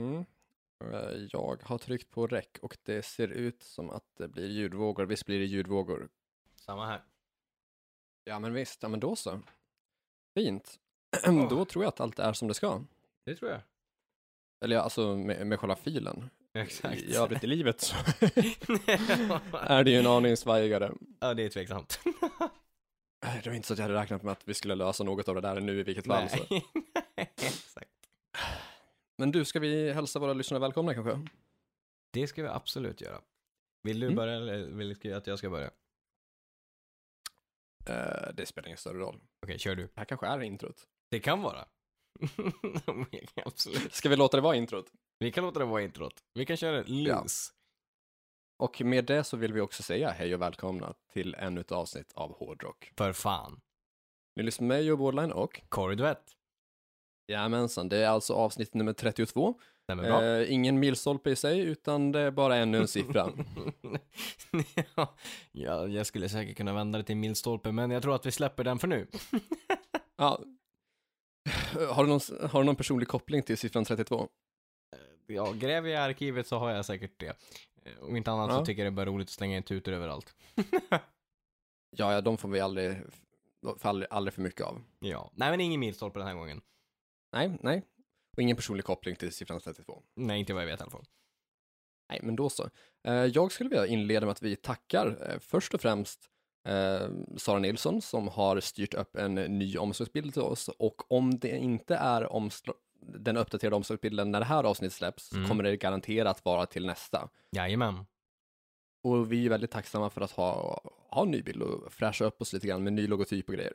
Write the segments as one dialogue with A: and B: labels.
A: Mm. Eh, Jag har tryckt på rec och det ser ut som att det blir ljudvågor. Visst blir det ljudvågor?
B: Samma här.
A: Ja, men visst. Ja, men då så. Fint.
B: Ja.
A: Då tror jag att allt är som det ska.
B: Det tror jag.
A: Eller ja, alltså med, med själva filen.
B: Exakt.
A: I övrigt i livet så är det ju en aning svajigare.
B: ja, det är tveksamt.
A: Eh, Det var inte så att jag hade räknat med att vi skulle lösa något av det där nu i vilket fall. Så.
B: Nej. Exakt.
A: Men du, ska vi hälsa våra lyssnare välkomna kanske?
B: Det ska vi absolut göra. Vill du
A: Mm.
B: börja eller vill du att jag ska börja? Okej,
A: Eh, det spelar ingen större roll.
B: kör du.
A: Det här kanske är introt.
B: Det kan vara. absolut.
A: Ska vi låta det vara introt?
B: Vi kan låta det vara introt. Vi kan köra loose.
A: Och med det så vill vi också säga hej och välkomna till ännu ett avsnitt av Hårdrock.
B: För fan.
A: Ni lyssnar med Joe Bordline och
B: Korridvett.
A: Jajamensan, det är alltså avsnitt nummer 32.
B: Nej men bra.
A: Eh, ingen milstolpe i sig, utan det är bara ännu en siffra.
B: ja, ja, jag skulle säkert kunna vända det till milstolpe, men jag tror att vi släpper den för nu.
A: ja. har, du någon, har du någon personlig koppling till siffran 32?
B: Ja, gräver jag i arkivet så har jag säkert det. Eh, Om inte annat
A: Ja.
B: så tycker jag det är bara roligt att slänga in tutor överallt.
A: Ja, ja, de får vi aldrig, de får aldrig, aldrig för mycket av.
B: Ja. Nej, men ingen milstolpe den här gången.
A: Nej, nej. Och ingen personlig koppling till siffran 32.
B: Nej, inte vad jag vet i alla fall.
A: Nej, men då så. Eh, Jag skulle vilja inleda med att vi tackar eh, först och främst eh, Sara Nilsson som har styrt upp en ny omslagsbild till oss och om det inte är omsl- den uppdaterade omslagsbilden när det här avsnittet släpps så
B: Mm.
A: kommer det garanterat vara till nästa.
B: Jajamän.
A: Och vi är väldigt tacksamma för att ha, ha en ny bild och fräscha upp oss lite grann med ny logotyp och grejer.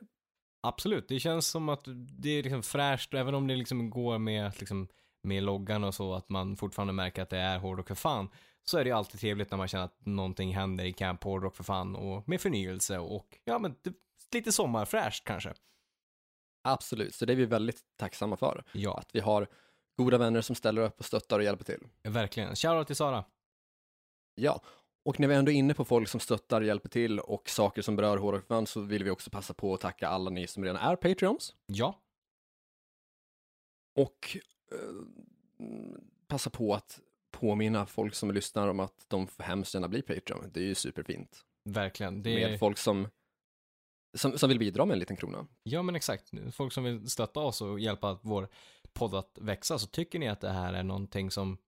B: Absolut, det känns som att det är liksom fräscht, även om det liksom går med, att liksom, med loggan och så, att man fortfarande märker att det är hårdrock för fan, så är det ju alltid trevligt när man känner att någonting händer i Camp Hårdrock för fan och med förnyelse och ja, men det, lite sommarfräscht kanske.
A: Absolut, så det är vi väldigt tacksamma för.
B: Ja,
A: Att vi har goda vänner som ställer upp och stöttar och hjälper till.
B: verkligen. Shoutout till Sara.
A: Ja, och när vi ändå är inne på folk som stöttar, hjälper till och saker som berör Hårdrockfan så vill vi också passa på att tacka alla ni som redan är Patreons
B: Ja,
A: och eh, mm, passa på att påminna folk som lyssnar om att de får hemskt gärna bli Patreon. Det är ju superfint.
B: verkligen. Det
A: Med
B: är,
A: folk som, som, som vill bidra med en liten krona.
B: ja, men exakt. Folk som vill stötta oss och hjälpa vår podd att växa, så tycker ni att det här är någonting som,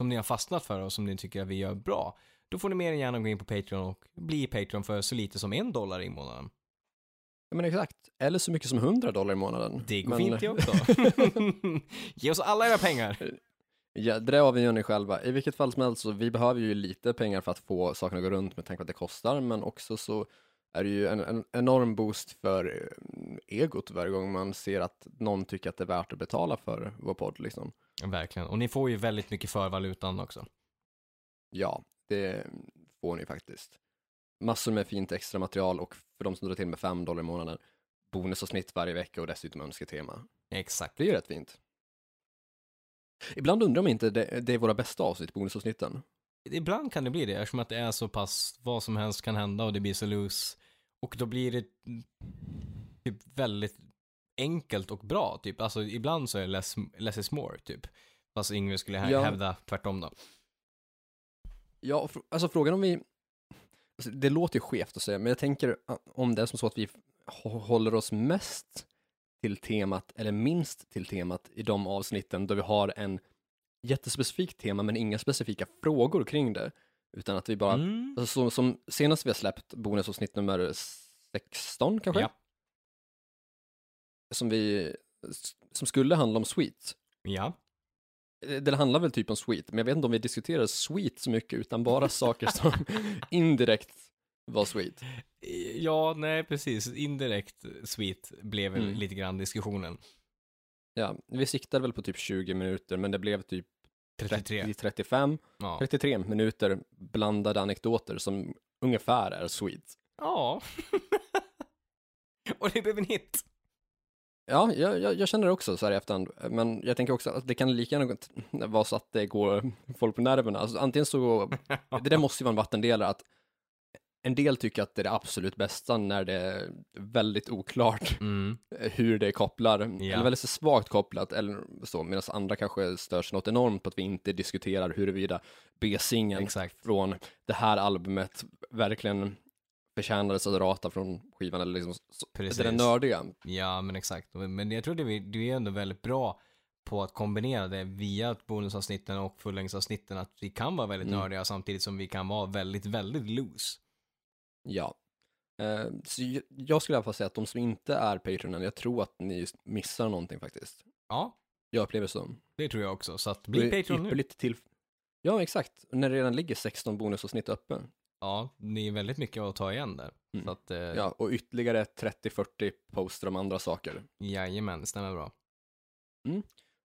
B: som ni har fastnat för och som ni tycker att vi gör bra, då får ni mer än gärna gå in på Patreon och bli Patreon för så lite som en dollar i månaden.
A: Ja, men exakt. Eller så mycket som 100 dollar i månaden.
B: Det går
A: men,
B: fint det också. Ge oss alla era pengar.
A: Ja, det där avgör ni själva. I vilket fall som helst, så vi behöver ju lite pengar för att få sakerna att gå runt med tanke på att det kostar, men också så är det ju en, en enorm boost för eh, egot varje gång man ser att någon tycker att det är värt att betala för vår podd. Liksom.
B: Verkligen. Och ni får ju väldigt mycket för valutan också.
A: Ja, det får ni faktiskt. Massor med fint extra material och för de som drar till med 5 dollar i månaden, bonus och snitt varje vecka och dessutom önsketema.
B: Exakt.
A: Det är ju rätt fint. Ibland undrar man inte, det, det är våra bästa avsnitt, bonusavsnitten.
B: Ibland kan det bli det eftersom att det är så pass, vad som helst kan hända och det blir så loose. Och då blir det typ väldigt enkelt och bra typ. Alltså ibland så är less, less is more typ. Fast Yngve skulle här
A: Ja.
B: hävda tvärtom då.
A: Ja, fr- alltså frågan om vi... Alltså, det låter ju skevt att säga, men jag tänker ah, om det är som så att vi hå- håller oss mest till temat, eller minst till temat, i de avsnitten då vi har en jättespecifik tema, men inga specifika frågor kring det. Utan att vi bara,
B: Mm.
A: alltså, som, som senast vi har släppt bonusavsnitt nummer 16 kanske,
B: Ja.
A: som vi, s- som skulle handla om Sweet.
B: Ja.
A: Eh, Det handlar väl typ om Sweet, men jag vet inte om vi diskuterar Sweet så mycket, utan bara saker som indirekt var Sweet.
B: Ja, nej precis. Indirekt sweet blev väl
A: Mm.
B: lite grann diskussionen.
A: Ja, vi siktade väl på typ 20 minuter, men det blev typ
B: 33.
A: 30-35,
B: Ja.
A: 33 minuter blandade anekdoter som ungefär är sweet.
B: ja. och det blev en hit.
A: Ja, jag, jag, jag känner det också så här i efterhand, men jag tänker också att det kan lika gärna gå t- vara så att det går folk på nerverna. Alltså, antingen så, det där måste ju vara en vattendelare, att en del tycker att det är det absolut bästa när det är väldigt oklart
B: Mm.
A: hur det kopplar, eller väldigt så svagt kopplat, eller så, medan andra kanske stör sig något enormt på att vi inte diskuterar huruvida B-singeln
B: Exakt.
A: från det här albumet verkligen förtjänades att rata från skivan, eller liksom, så,
B: Precis.
A: det är det nördiga.
B: Ja, men exakt. Men jag tror det, vi- du är ändå väldigt bra på att kombinera det via bonusavsnitten och fullängdsavsnitten. Att vi kan vara väldigt
A: Mm.
B: nördiga samtidigt som vi kan vara väldigt, väldigt loose.
A: Ja. Eh, så j- jag skulle i alla fall säga att de som inte är Patreon, jag tror att ni just missar någonting faktiskt.
B: Ja,
A: Jag upplever det så.
B: det tror jag också. Så att
A: Det
B: bli
A: är
B: Patreon nu.
A: ypperligt Till... Ja, exakt. När det redan ligger 16 bonusavsnitt öppen.
B: Ja, det är väldigt mycket att ta igen där.
A: Mm.
B: Så att, eh,
A: Ja, och ytterligare 30-40 poster om andra saker.
B: jajamän, det stämmer bra.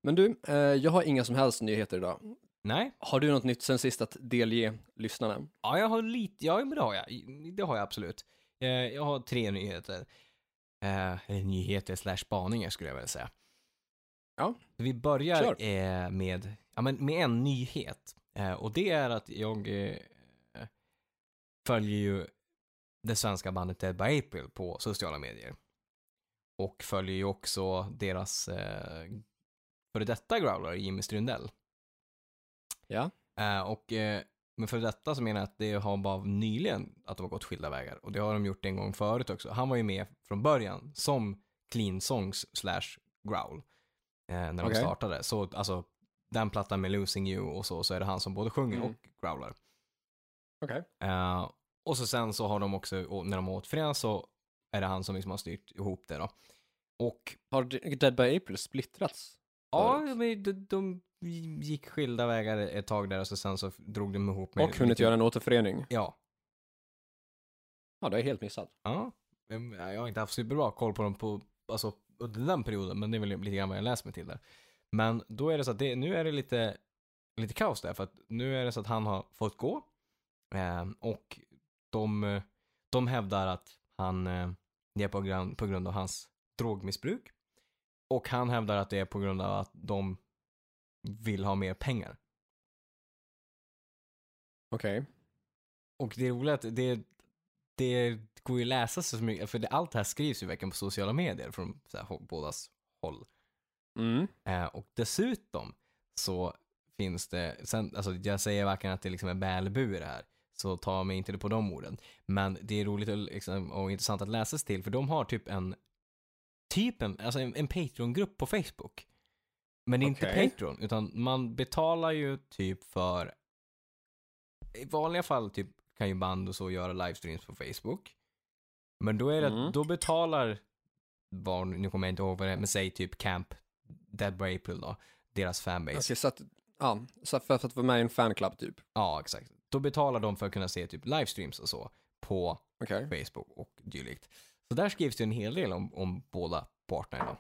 A: Men du, eh, jag har inga som helst nyheter idag.
B: Nej,
A: Har du något nytt sen sist att delge lyssnarna?
B: Ja, jag har lite, ja men det har jag. Det har jag absolut. Eh, jag har tre nyheter. Eh, eller nyheter slash spaningar skulle jag vilja säga.
A: Ja.
B: Vi
A: Kör.
B: börjar eh, med, ja, men med en nyhet. Eh, och det är att jag eh, följer ju det svenska bandet Dead by April på sociala medier. Och följer ju också deras eh, före detta growler Jimmy Strundell.
A: Ja.
B: Eh, och eh, men för detta så menar jag att det har bara nyligen att de har gått skilda vägar. Och det har de gjort en gång förut också. Han var ju med från början som Clean Songs slash Growl. Eh, när de
A: Okej.
B: startade. Så alltså den plattan med Losing You och så, så är det han som både sjunger
A: Mm.
B: och growlar.
A: Okej.
B: Eh, och så sen så har de också, och när de återförenas så är det han som liksom har styrt ihop det då. Och
A: Har De- Dead by April splittrats?
B: ja,
A: Förut.
B: men de, de gick skilda vägar ett tag där och så sen så drog de ihop med...
A: och hunnit göra en återförening?
B: Ja,
A: Ja, det är helt missat.
B: Ja. men Jag har inte haft superbra koll på dem på, alltså, under den perioden, men det är väl lite grann vad jag läst mig till där. Men då är det så att det, nu är det lite, lite kaos där, för att nu är det så att han har fått gå. Eh, och de, eh, de hävdar att han, eh, det är på grund, på grund av hans drogmissbruk. Och han hävdar att det är på grund av att de vill ha mer pengar.
A: Okej.
B: Och det roliga är att det, det går ju att läsa så mycket, för det, allt det här skrivs ju verkligen på sociala medier från så här, hå- bådas håll.
A: Mm.
B: Eh, och dessutom så finns det, sen, alltså jag säger varken att det liksom är välbu i det här, så ta mig inte på de orden. Men det är roligt och, liksom, och intressant att läsa sig till, för de har typ en, typ en, alltså en, en Patreon-grupp på Facebook. Men det är
A: Okej.
B: inte Patreon, utan man betalar ju typ för, i vanliga fall typ kan ju band och så göra livestreams på Facebook. Men då är det,
A: Mm.
B: att då betalar, var, nu kommer jag inte ihåg vad det är, men säg typ Camp Dead by April då, deras fanbase.
A: Okej, så att, ja, så att för, för att vara med i en fanclub typ.
B: Ja, exakt. Då betalar de för att kunna se typ livestreams och så på
A: Okej.
B: Facebook och dylikt. Så där skrivs det en hel del om, om båda parterna. då.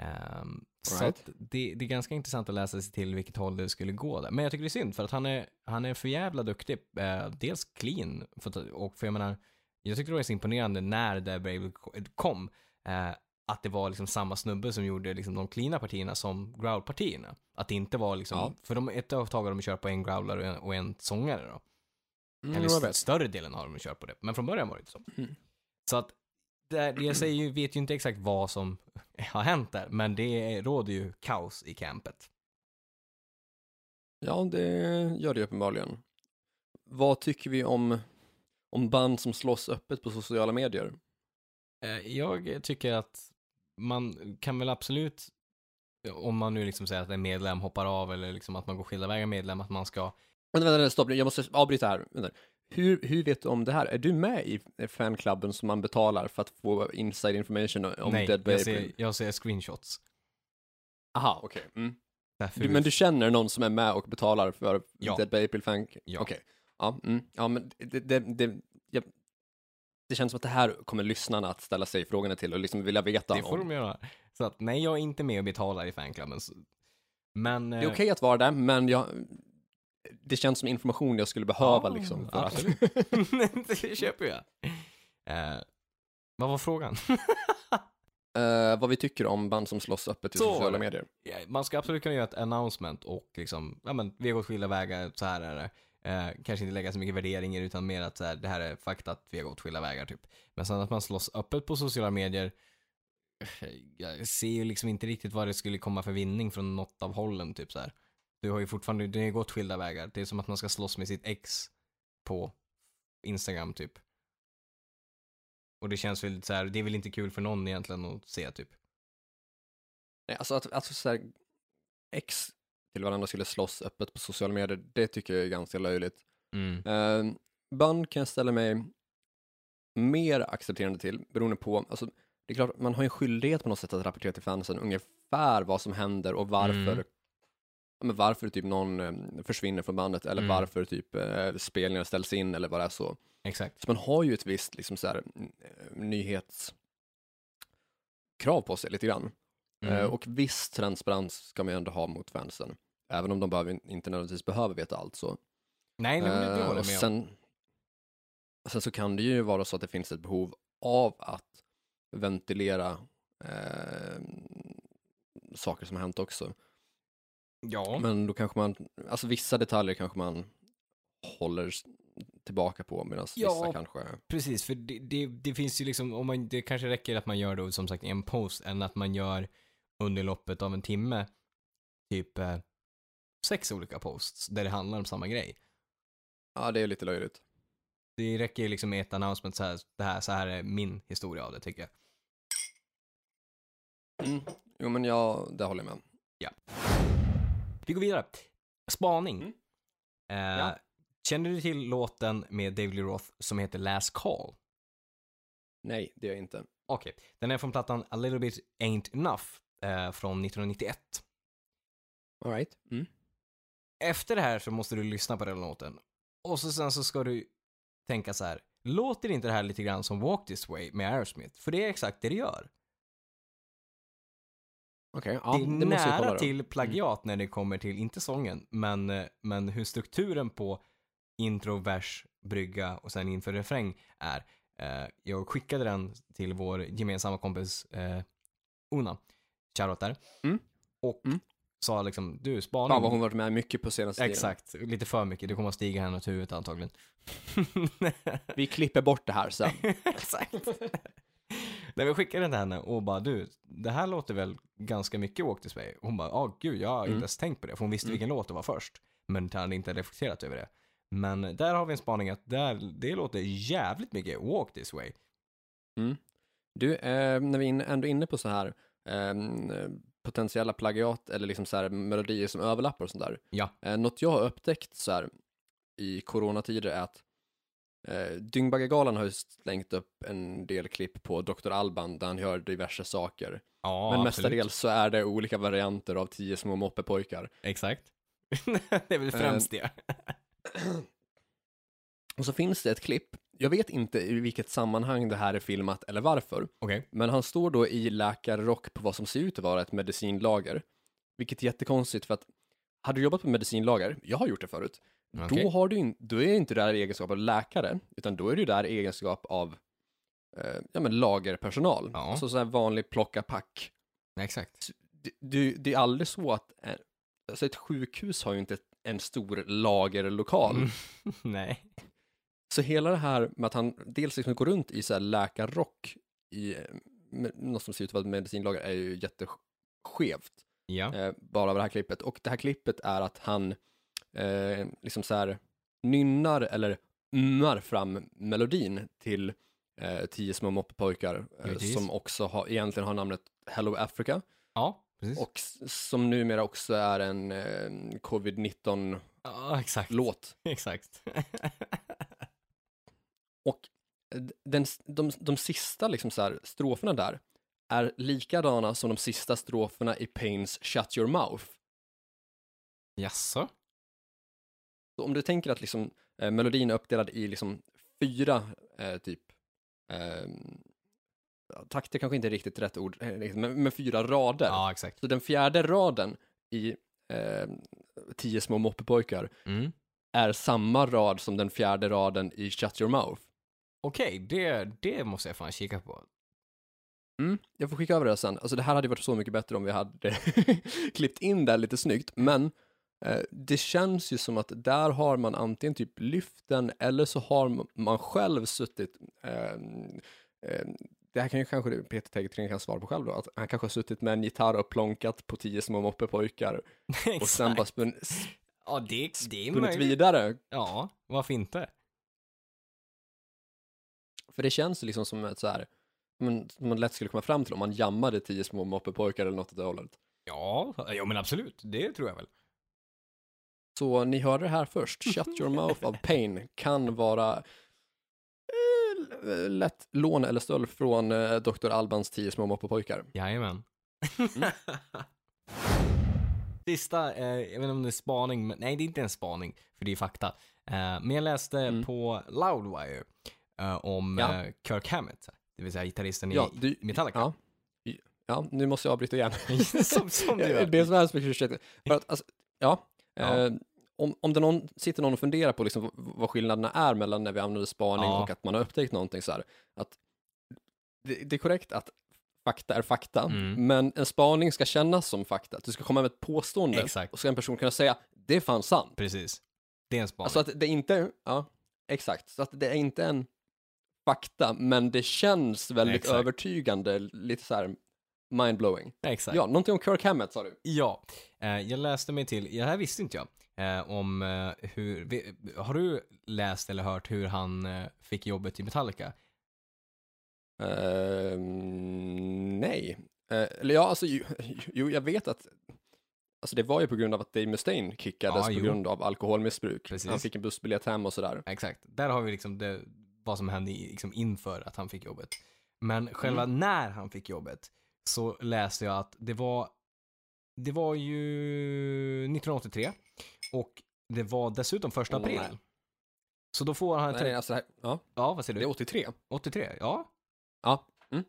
B: Ehm, Så
A: Alright.
B: att det, det är ganska intressant att läsa sig till vilket håll det skulle gå där. Men jag tycker det är synd för att han är, han är för jävla duktig. Eh, dels clean, för, att- och för jag menar, jag tyckte det var så imponerande när The Brave kom, eh, att det var liksom samma snubbe som gjorde liksom de cleana partierna som growl-partierna. Att det inte var liksom,
A: Ja.
B: för de, ett tag har de kört på en growlare och en, och en sångare då.
A: Mm,
B: Eller
A: jag
B: st-
A: vet.
B: större delen har de kört på det, men från början var det inte så.
A: Mm.
B: Så att, det, här- jag säger ju, vet ju inte exakt vad som har hänt där, men det är- råder ju kaos i campet.
A: Ja, det gör det ju uppenbarligen. Vad tycker vi om, om band som slåss öppet på sociala medier?
B: Eh, Jag tycker att man kan väl absolut, om man nu liksom säger att en medlem hoppar av eller liksom att man går skilda vägar medlem, att man ska,
A: Vänta, vänta, vänta, stopp, jag måste avbryta här. Vänta. Hur, hur vet du om det här? Är du med i fanklubben som man betalar för att få inside information om
B: nej,
A: Dead by
B: jag
A: April?
B: ser, jag ser screenshots.
A: Aha, okej. Mm.
B: Därför
A: Du,
B: vi-
A: men du känner någon som är med och betalar för
B: Ja.
A: Dead by April fan...
B: Ja.
A: Okej. Ja, mm. ja, men det, det, det, jag, det känns som att det här kommer lyssnarna att ställa sig frågorna till och liksom vilja veta
B: det får
A: om.
B: de göra. Så att nej, jag är inte med och betalar i fanklubben. så- Men... eh,
A: Det är okej att vara där, men jag, det känns som information jag skulle behöva liksom. För att,
B: absolut. det köper jag. Eh, vad var frågan?
A: Eh, vad vi tycker om band som slåss öppet i
B: Så var
A: sociala
B: det.
A: medier.
B: Ja, Man ska absolut kunna göra ett announcement och liksom, ja men vi har gått skilda vägar, så här är det. Eh, kanske inte lägga så mycket värderingar utan mer att så här, det här är fakta att vi har gått skilda vägar typ. Men sen att man slåss öppet på sociala medier, eh, jag ser ju liksom inte riktigt vad det skulle komma för vinning från något av hållen typ så här. Du har ju fortfarande, det har ju gått skilda vägar. Det är som att man ska slåss med sitt ex på Instagram typ. Och det känns väl så här, det är väl inte kul för någon egentligen att se typ.
A: Nej, alltså att, att så här, ex till varandra skulle slåss öppet på sociala medier, det tycker jag är ganska löjligt. Eh, band kan jag ställa mig mer accepterande till, beroende på, alltså, det är klart, man har ju en skyldighet på något sätt att rapportera till fansen ungefär vad som händer och varför
B: Mm.
A: ja, men varför typ någon eh, försvinner från bandet eller
B: Mm.
A: varför typ eh, spelningar ställs in eller vad det är så.
B: Exakt.
A: Så man har ju ett visst liksom så här, n- eh, nyhetskrav på sig lite grann.
B: Mm.
A: Eh, Och viss transparens ska man ju ändå ha mot fansen. Även om de behöver, inte nödvändigtvis behöver veta allt så.
B: Nej, nej, men det
A: Eh,
B: håller
A: och
B: jag med om.
A: sen, sen så kan det ju vara så att det finns ett behov av att ventilera eh, saker som har hänt också.
B: Ja.
A: Men då kanske man, alltså vissa detaljer kanske man håller s- tillbaka på medan
B: Ja.
A: vissa kanske...
B: Precis, för det, det, det finns ju liksom, om man, det kanske räcker att man gör då som sagt en post än att man gör under loppet av en timme typ eh, sex olika posts där det handlar om samma grej.
A: Ja, det är lite löjligt.
B: Det räcker ju liksom med ett announcement så här, det här, så här är min historia av det tycker jag.
A: Mm. Jo, men jag, det håller jag med om.
B: Vi går vidare. Spaning.
A: Mm.
B: Eh,
A: Ja.
B: Känner du till låten med David Lee Roth som heter Last Call?
A: Nej, det är jag inte.
B: Okej, den är från plattan A Little Bit Ain't Enough eh, från 1991.
A: All right. Mm.
B: efter det här så måste du lyssna på den låten. Och så sen så ska du tänka så här. Låter inte det här lite grann som Walk This Way med Aerosmith? För det är exakt det det gör.
A: Okej, ja,
B: det är
A: det, måste jag kolla
B: nära
A: då. Mm.
B: till plagiat när det kommer till, inte sången, men, eh, men hur strukturen på intro, vers, brygga och sen inför refräng är. Eh, jag skickade den till vår gemensamma kompis eh, Una, shoutout där.
A: Mm.
B: Och
A: Mm.
B: sa liksom, du spaning.
A: Fan vad hon varit med mycket på senaste tiden.
B: Exakt, lite för mycket. Det kommer att stiga henne åt huvudet antagligen.
A: Vi klipper bort det här sen.
B: Exakt. När vi skickade den till henne och bara du, det här låter väl ganska mycket Walk This Way. Hon bara, ja gud jag har inte
A: Mm.
B: ens tänkt på det. För hon visste
A: Mm.
B: vilken låt det var först. Men hade inte reflekterat över det. Men där har vi en spaning att där, det låter jävligt mycket Walk This Way.
A: Du, eh, när vi är in- ändå är inne på så här ehm, eh, potentiella plagiat eller liksom så här melodier som överlappar och sånt där.
B: Ja.
A: Eh, något jag har upptäckt så här i coronatider är att eh, Dyngbaggegalan har ju slängt upp en del klipp på Dr. Alban där han gör diverse saker.
B: Ja,
A: Men
B: absolut.
A: mestadels så är det olika varianter av tio små moppepojkar.
B: Exakt. Eh, det är väl främst det.
A: Och så finns det ett klipp, jag vet inte i vilket sammanhang det här är filmat eller varför,
B: Okej.
A: Men han står då i läkarrock på vad som ser ut att vara ett medicinlager. Vilket är jättekonstigt för att hade du jobbat på medicinlager, jag har gjort det förut,
B: Okej.
A: då, har du in, då är du inte där i egenskap av läkare, utan då är du där i egenskap av eh, ja, men lagerpersonal.
B: Ja.
A: Alltså så här vanlig plocka-pack.
B: Exakt.
A: Det, du- det är aldrig så att eh, alltså ett sjukhus har ju inte en stor lagerlokal.
B: Mm. Nej.
A: Så hela det här med att han dels liksom går runt i så här läkarrock i eh, med, något som ser ut att vara ett medicinlager är ju jätteskevt.
B: Ja.
A: Eh, bara av det här klippet. Och det här klippet är att han eh, liksom så här nynnar eller nynnar fram melodin till eh, tio små moppepojkar eh,
B: Precis.
A: som också har, egentligen har namnet Hello Africa
B: Ja, precis.
A: och s- som numera också är en eh, covid-19-låt.
B: ja, exakt. Exakt.
A: eh, den, de, de sista liksom så här, stroferna där är likadana som de sista stroferna i Pains Shut Your Mouth.
B: Jaså?
A: Så om du tänker att liksom, eh, melodin är uppdelad i liksom fyra eh, typ eh, takter kanske inte är riktigt rätt ord, eh, liksom, men, men fyra rader.
B: Ja, exakt.
A: Så den fjärde raden i eh, Tio små moppepojkar
B: Mm.
A: är samma rad som den fjärde raden i Shut Your Mouth.
B: Okej, det, det måste jag fan kika på.
A: Mm, jag får skicka över det här sen. Alltså det här hade varit så mycket bättre om vi hade klippt in det här lite snyggt, men Eh, Det känns ju som att där har man antingen typ lyft den eller så har m- man själv suttit, ehm, ehm, det här kan ju kanske Peter Tegertring kan svara på själv då, att han kanske har suttit med en gitarr och plonkat på tio små moppepojkar och sen
B: Exakt.
A: bara spun,
B: Ja, det, det är
A: spunnit
B: möjligt.
A: vidare.
B: Ja, varför inte?
A: För det känns ju liksom som ett så här, men, som man lätt skulle komma fram till om man jammade tio små moppepojkar eller något åt det hållet.
B: Ja, ja men absolut. Det tror jag väl.
A: Så ni hörde det här först. Shut your mouth of pain kan vara eh, l- lätt lån eller stöld från eh, Dr. Albans tio små moppepojkar.
B: Jajamän. Mm. Sista, eh, jag vet inte om det är spaning, men nej det är inte en spaning, för det är fakta. Eh, men jag läste
A: Mm.
B: på Loudwire eh, om
A: Ja.
B: eh, Kirk Hammett, det vill säga gitarristen i
A: Ja, du-
B: Metallica.
A: Ja. I- ja, nu måste jag avbryta igen.
B: som, som du
A: det är
B: gör.
A: så hemskt mycket ursäkter. För att, alltså, ja,
B: Ja.
A: Eh, om, om det någon, sitter någon och funderar på liksom v- vad skillnaderna är mellan när vi använder spaning
B: Ja.
A: och att man har upptäckt någonting så här. Att det, det är korrekt att fakta är fakta,
B: Mm.
A: men en spaning ska kännas som fakta. Du ska komma med ett påstående
B: Exakt.
A: och ska en person kunna säga det är fan sant.
B: Precis. Det är en spaning.
A: Alltså att det inte, ja, exakt. Så att det är inte en fakta, men det känns väldigt
B: Exakt.
A: övertygande, lite så här mindblowing.
B: Exakt.
A: Ja, någonting om Kirk Hammett sa du.
B: Ja, eh, jag läste mig till, det här visste inte jag, eh, om eh, hur, vi- har du läst eller hört hur han eh, fick jobbet i Metallica?
A: Ehm, nej. Eh, eller ja, alltså, ju- jo, jag vet att Alltså det var ju på grund av att Dave Mustaine kickades
B: Ja,
A: på
B: jo.
A: grund av alkoholmissbruk.
B: Precis.
A: Han fick en bussbiljett hem och sådär.
B: Exakt, där har vi liksom det, vad som hände i- liksom inför att han fick jobbet. Men själva
A: Mm.
B: när han fick jobbet så läste jag att det var, det var ju 1983 och det var dessutom första
A: Åh, nej.
B: april. Så då får han, ett-
A: Nej, alltså det, här, ja,
B: ja vad säger
A: det är
B: du,
A: 83.
B: 83? Ja,
A: Ja. Mm.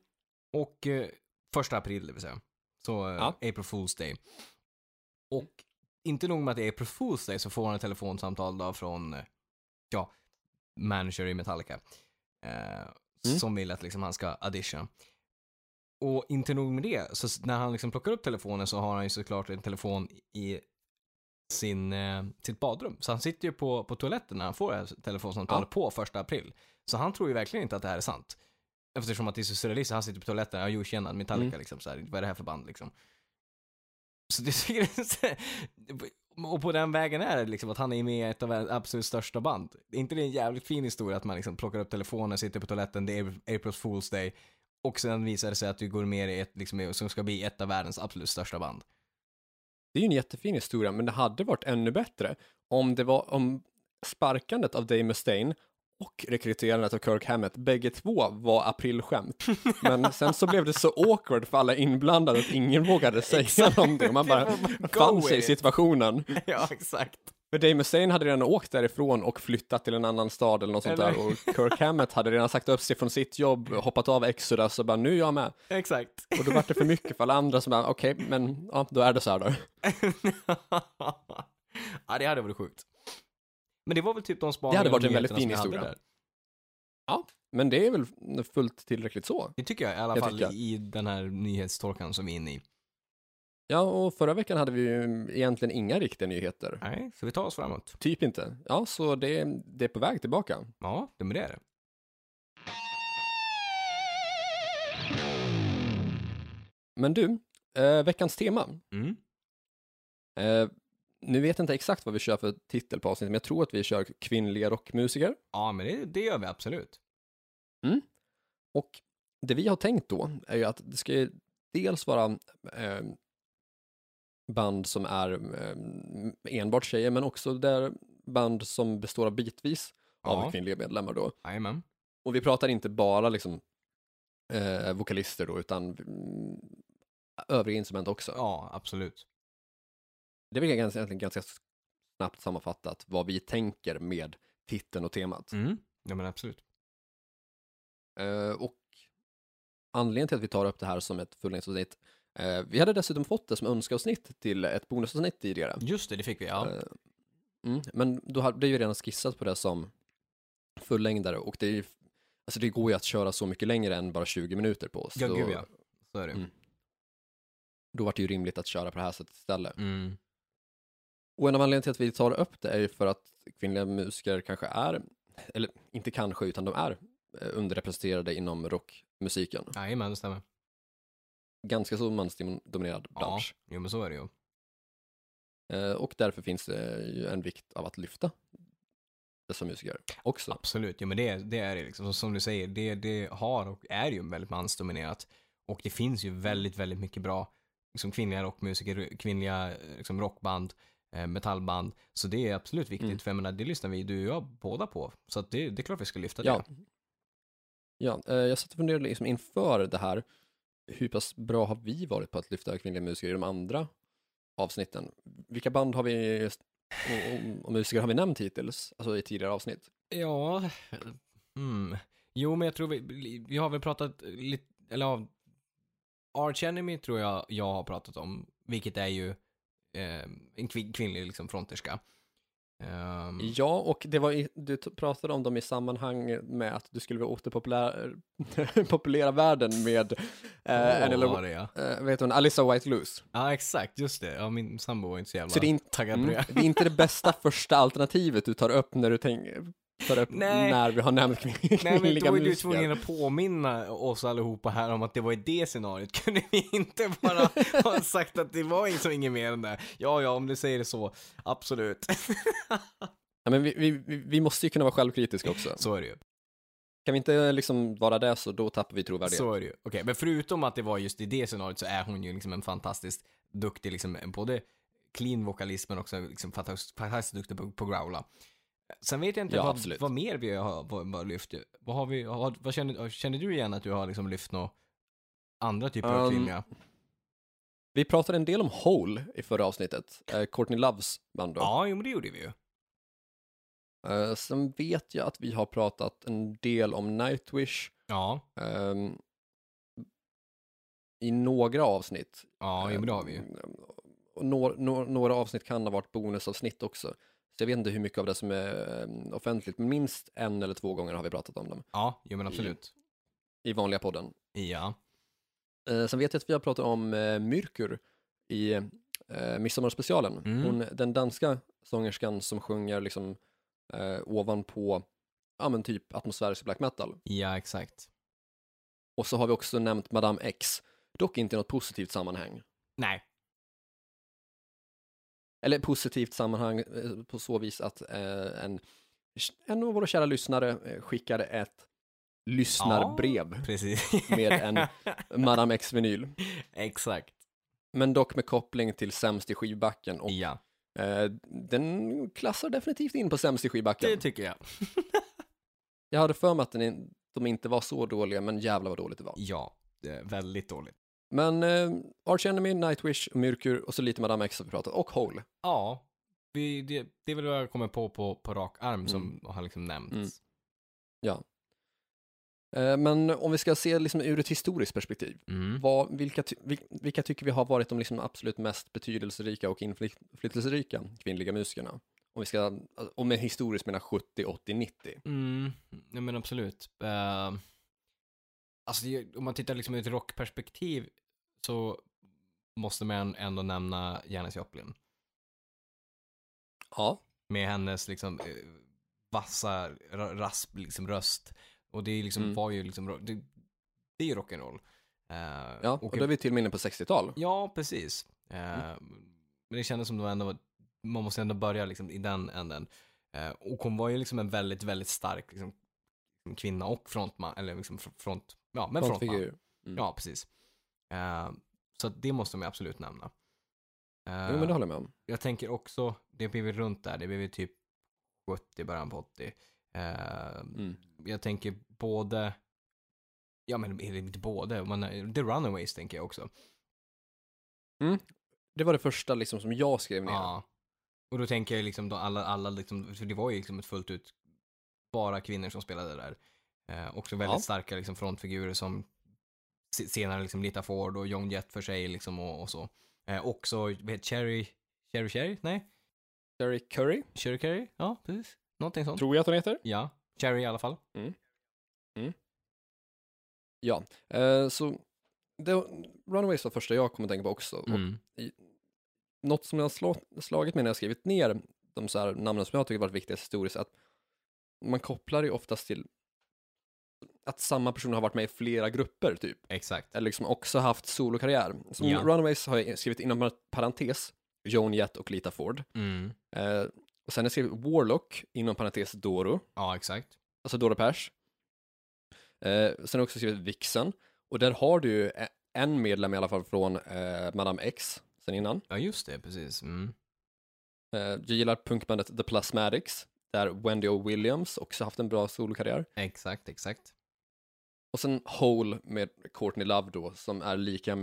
B: Och eh, första april, det vill säga. Så eh,
A: Ja.
B: April Fool's Day. Och inte nog med att det är April Fool's Day så får han ett telefonsamtal då från, eh, ja, manager i Metallica. Eh,
A: Mm.
B: Som vill att liksom han ska audition. Och inte nog med det, så s- när han liksom plockar upp telefonen så har han ju såklart en telefon i sin, eh, sitt badrum. Så han sitter ju på, på toaletten när han får det här telefonsamtalet på första april. Så han tror ju verkligen inte att det här är sant. Eftersom att det är så surrealistiskt, han sitter på toaletten, ja jo tjena, Metallica
A: Mm.
B: liksom så här, vad är det här för band liksom? Så det tycker jag är så här- och på den vägen är det liksom att han är med i ett av världens absolut största band. Är inte det en jävligt fin historia att man liksom plockar upp telefonen, sitter på toaletten, det är April Fool's Day och sen visar det sig att du går med i ett, liksom, som ska bli ett av världens absolut största band.
A: Det är ju en jättefin historia, men det hade varit ännu bättre om det var om sparkandet av Dave Mustaine och rekryterandet av Kirk Hammett, bägge två var aprilskämt. Men sen så blev det så awkward för alla inblandade att ingen vågade säga
B: Exakt.
A: någonting. Man bara
B: Det var bara,
A: fann
B: go
A: sig i
B: with it.
A: situationen.
B: ja, exakt.
A: För Dave Mustaine hade redan åkt därifrån och flyttat till en annan stad eller något sånt
B: Eller-
A: där och Kirk Hammett hade redan sagt upp sig från sitt jobb, hoppat av Exodus och bara nu är jag med.
B: Exakt.
A: Och då var det för mycket för alla andra som bara okej, men ja, då är det så här då.
B: ja, det hade varit sjukt. Men det var väl typ de spaningar
A: Det hade varit
B: och
A: en väldigt
B: nyheterna
A: fin
B: som jag hade
A: historia.
B: där.
A: Men det är väl fullt tillräckligt så.
B: Det tycker jag i alla
A: Jag
B: fall
A: tycker-
B: i den här nyhetstorkan som vi är inne i.
A: Ja, och förra veckan hade vi ju egentligen inga riktiga nyheter.
B: Nej, så vi tar oss framåt.
A: Typ inte. Ja, så det, det är på väg tillbaka.
B: Ja, det med det är det.
A: Men du, eh, veckans tema.
B: Mm.
A: Eh, nu vet jag inte exakt vad vi kör för titel på avsnittet, men jag tror att vi kör kvinnliga rockmusiker.
B: Ja, men det, det gör vi absolut.
A: Och det vi har tänkt då är ju att det ska ju dels vara eh, band som är eh, enbart tjejer, men också där band som består av bitvis av
B: Ja,
A: kvinnliga medlemmar då.
B: jajamän.
A: Och vi pratar inte bara liksom eh, vokalister då, utan mm, övriga instrument också.
B: Ja, absolut.
A: Det vill jag ganska, egentligen ganska snabbt sammanfattat vad vi tänker med titeln och temat.
B: Mm. Ja, men absolut. Mm.
A: Eh, och anledningen till att vi tar upp det här som ett fullängdsavsnitt, eh, vi hade dessutom fått det som önskeavsnitt till ett bonusavsnitt tidigare.
B: Just det, det fick vi. Ja.
A: Eh, Mm, men då hade det är ju redan skissat på det som fullängdare och det, är ju, alltså det går ju att köra så mycket längre än bara 20 minuter på oss.
B: Ja,
A: Så-
B: gud ja. Så är det.
A: Mm. då var det ju rimligt att köra på det här sättet istället.
B: Mm.
A: Och en av anledningarna till att vi tar upp det är ju för att kvinnliga musiker kanske är, eller inte kanske, utan de är eh, underrepresenterade inom rockmusiken.
B: Jajamän, det stämmer.
A: Ganska så mansdominerad bransch.
B: Jo, men så är det ju.
A: Eh, Och därför finns det ju en vikt av att lyfta dessa musiker också.
B: Absolut, jo, men det, det är det liksom. Som du säger, det, det har och är ju väldigt mansdominerat. Och det finns ju väldigt, väldigt mycket bra liksom, kvinnliga rockmusiker, kvinnliga eh, liksom, rockband, eh, metallband. Så det är absolut viktigt,
A: Mm.
B: för jag menar, det lyssnar vi, du och jag, båda på. Så att det, det är klart vi ska lyfta det.
A: Ja. Ja, eh, jag satt och funderade liksom inför det här, hur pass bra har vi varit på att lyfta kvinnliga musiker i de andra avsnitten? Vilka band har vi och, och, och musiker har vi nämnt hittills, alltså i tidigare avsnitt?
B: Ja, mm. Jo, men jag tror vi, vi har väl pratat lite, eller av Arch Enemy tror jag jag har pratat om, vilket är ju eh, en kvin- kvinnlig liksom fronterska. Ehm,
A: Ja, och det var i, du t- pratade om dem i sammanhang med att du skulle vilja återpopulera världen med eh, en,
B: åh,
A: eller,
B: vad det är.
A: eh, vet hon, Alissa White Loose.
B: Ja, exakt, just det. Ja, min sambo var inte så jävla
A: Så det är inte
B: taggad på
A: Mm.
B: det.
A: Det är inte det bästa första alternativet du tar upp när du tänker tar upp
B: Nej.
A: när vi har nämnt kvin-
B: Nej, men då
A: kvinnliga
B: är du
A: musiker.
B: tvungen att påminna oss allihopa här om att det var i det scenariot. Kunde vi inte bara ha sagt att det var liksom inget mer än det? Ja, ja, om du säger det så. Absolut.
A: Ja, men vi, vi, vi- vi måste ju kunna vara självkritiska också.
B: Så är det ju.
A: Kan vi inte liksom vara det så då tappar vi trovärdighet.
B: Så är det ju. Okej, men förutom att det var just i det scenariot så är hon ju liksom en fantastiskt duktig, liksom både clean vokalist men också liksom fantastiskt, fantastiskt duktig på, på growla. Sen vet jag inte
A: Ja,
B: vad,
A: absolut.
B: vad mer vi har vad, vad lyft. Vad har vi, vad, vad känner, känner du igen att du har liksom lyft några andra typer av
A: Ehm,
B: kvinnliga?
A: Vi pratade en del om Hole i förra avsnittet, eh, Courtney Loves band då.
B: Ja, jo men det gjorde vi ju.
A: Eh, sen vet jag att vi har pratat en del om Nightwish
B: Ja,
A: ehm, i några avsnitt. Ehm,
B: ja jo men det har vi ju.
A: Och Några, några, några avsnitt kan ha varit bonusavsnitt också. Så jag vet inte hur mycket av det som är eh, offentligt, men minst en eller två gånger har vi pratat om dem
B: Ja, jo men absolut.
A: i vanliga podden.
B: Ja.
A: Eh, sen vet jag att vi har pratat om eh, Myrkur i eh, Midsommarspecialen.
B: Mm.
A: Hon, den danska sångerskan som sjunger liksom eh, ovanpå ja, men typ atmosfärisk black metal.
B: ja, exakt.
A: Och så har vi också nämnt Madame X, dock inte i något positivt sammanhang.
B: Nej,
A: Eller positivt sammanhang eh, på så vis att eh, en, en av våra kära lyssnare eh, skickade ett lyssnarbrev
B: precis.
A: med en Madame X-vinyl.
B: exakt.
A: Men dock med koppling till Sämst i skivbacken och
B: Ja,
A: eh, den klassar definitivt in på Sämst i
B: det
A: skivbacken.
B: tycker jag.
A: Jag hade för mig att den, in- de inte var så dåliga, men jävla vad dåligt det var.
B: Ja, det är väldigt dåligt.
A: Men eh, Arch Enemy, Nightwish, Myrkur och så lite Madame X har vi pratat, och Hole.
B: Ja, vi, det, det är väl vad jag kommer på på, på rak arm som har liksom nämnts.
A: Mm. Eh, men om vi ska se liksom ur ett historiskt perspektiv,
B: Mm.
A: Vad, vilka, ty, vil- vilka tycker vi har varit de liksom absolut mest betydelserika och inflytelserika kvinnliga musikerna? Om vi ska, och med historiskt menar 70, 80, 90.
B: Mm, nej men absolut. Eh, alltså det, om man tittar liksom ur ett rockperspektiv så måste man ändå nämna Janis Joplin.
A: Ja,
B: Med hennes liksom eh, vassa ra- rasp liksom röst. Och det är liksom,
A: Mm.
B: var ju liksom, ro- det, det är ju rock'n'roll. Eh,
A: ja och då är vi till och med inne på 60-tal.
B: Ja, precis. Eh,
A: Mm.
B: Men det kändes som det var ändå, man måste ändå börja liksom i den änden. Eh, och hon var ju liksom en väldigt, väldigt stark liksom, kvinna och frontman, eller liksom fr- front, ja men frontman.
A: Frontfigur. Mm.
B: Ja, precis. Eh, så att det måste man ju absolut nämna. Eh,
A: Jo, men det håller jag med om.
B: Jag tänker också, det blev ju runt där, det blev ju typ 70, början på 80. Eh,
A: Mm.
B: Jag tänker både, ja men är det inte både, man, The Runaways tänker jag också.
A: Mm. Det var det första liksom som jag skrev ner.
B: Ja. Och då tänker jag liksom då alla, alla liksom, för det var ju liksom ett fullt ut bara kvinnor som spelade där. Eh, också väldigt
A: Ja.
B: starka liksom frontfigurer som se- senare liksom Lita Ford och John Jett för sig liksom och, och så. Eh, också, vad heter Cherry, Cherry Cherry? Nej?
A: Jerry Curry,
B: Cherry Cherry? Ja, precis. Någonting sånt.
A: tror jag att hon heter.
B: Ja, Cherry i alla fall.
A: Ja, eh, så det, Runaways var första jag kom att tänka på också. Och
B: Mm.
A: något som jag har slå- slagit mig när jag skrivit ner de så här namnen som jag tycker varit viktigast historiskt, att man kopplar ju oftast till att samma person har varit med i flera grupper typ,
B: Exakt.
A: eller liksom också haft solokarriär. Som
B: Ja.
A: Runaways har jag skrivit inom parentes, Joan Jett och Lita Ford.
B: Mm.
A: Eh, och sen har jag skrivit Warlock, inom parentes Doro,
B: Ja, exakt.
A: alltså Doro Pers. Eh, sen har jag också skrivit Vixen, och där har du ju e- en medlem i alla fall från eh, Madame X sen innan.
B: Ja, just det, precis. Mm.
A: Eh, jag gillar punkbandet The Plasmatics, där Wendy O. Williams också haft en bra solokarriär.
B: Exakt, exakt.
A: Och sen Hole med Courtney Love då, som är lika,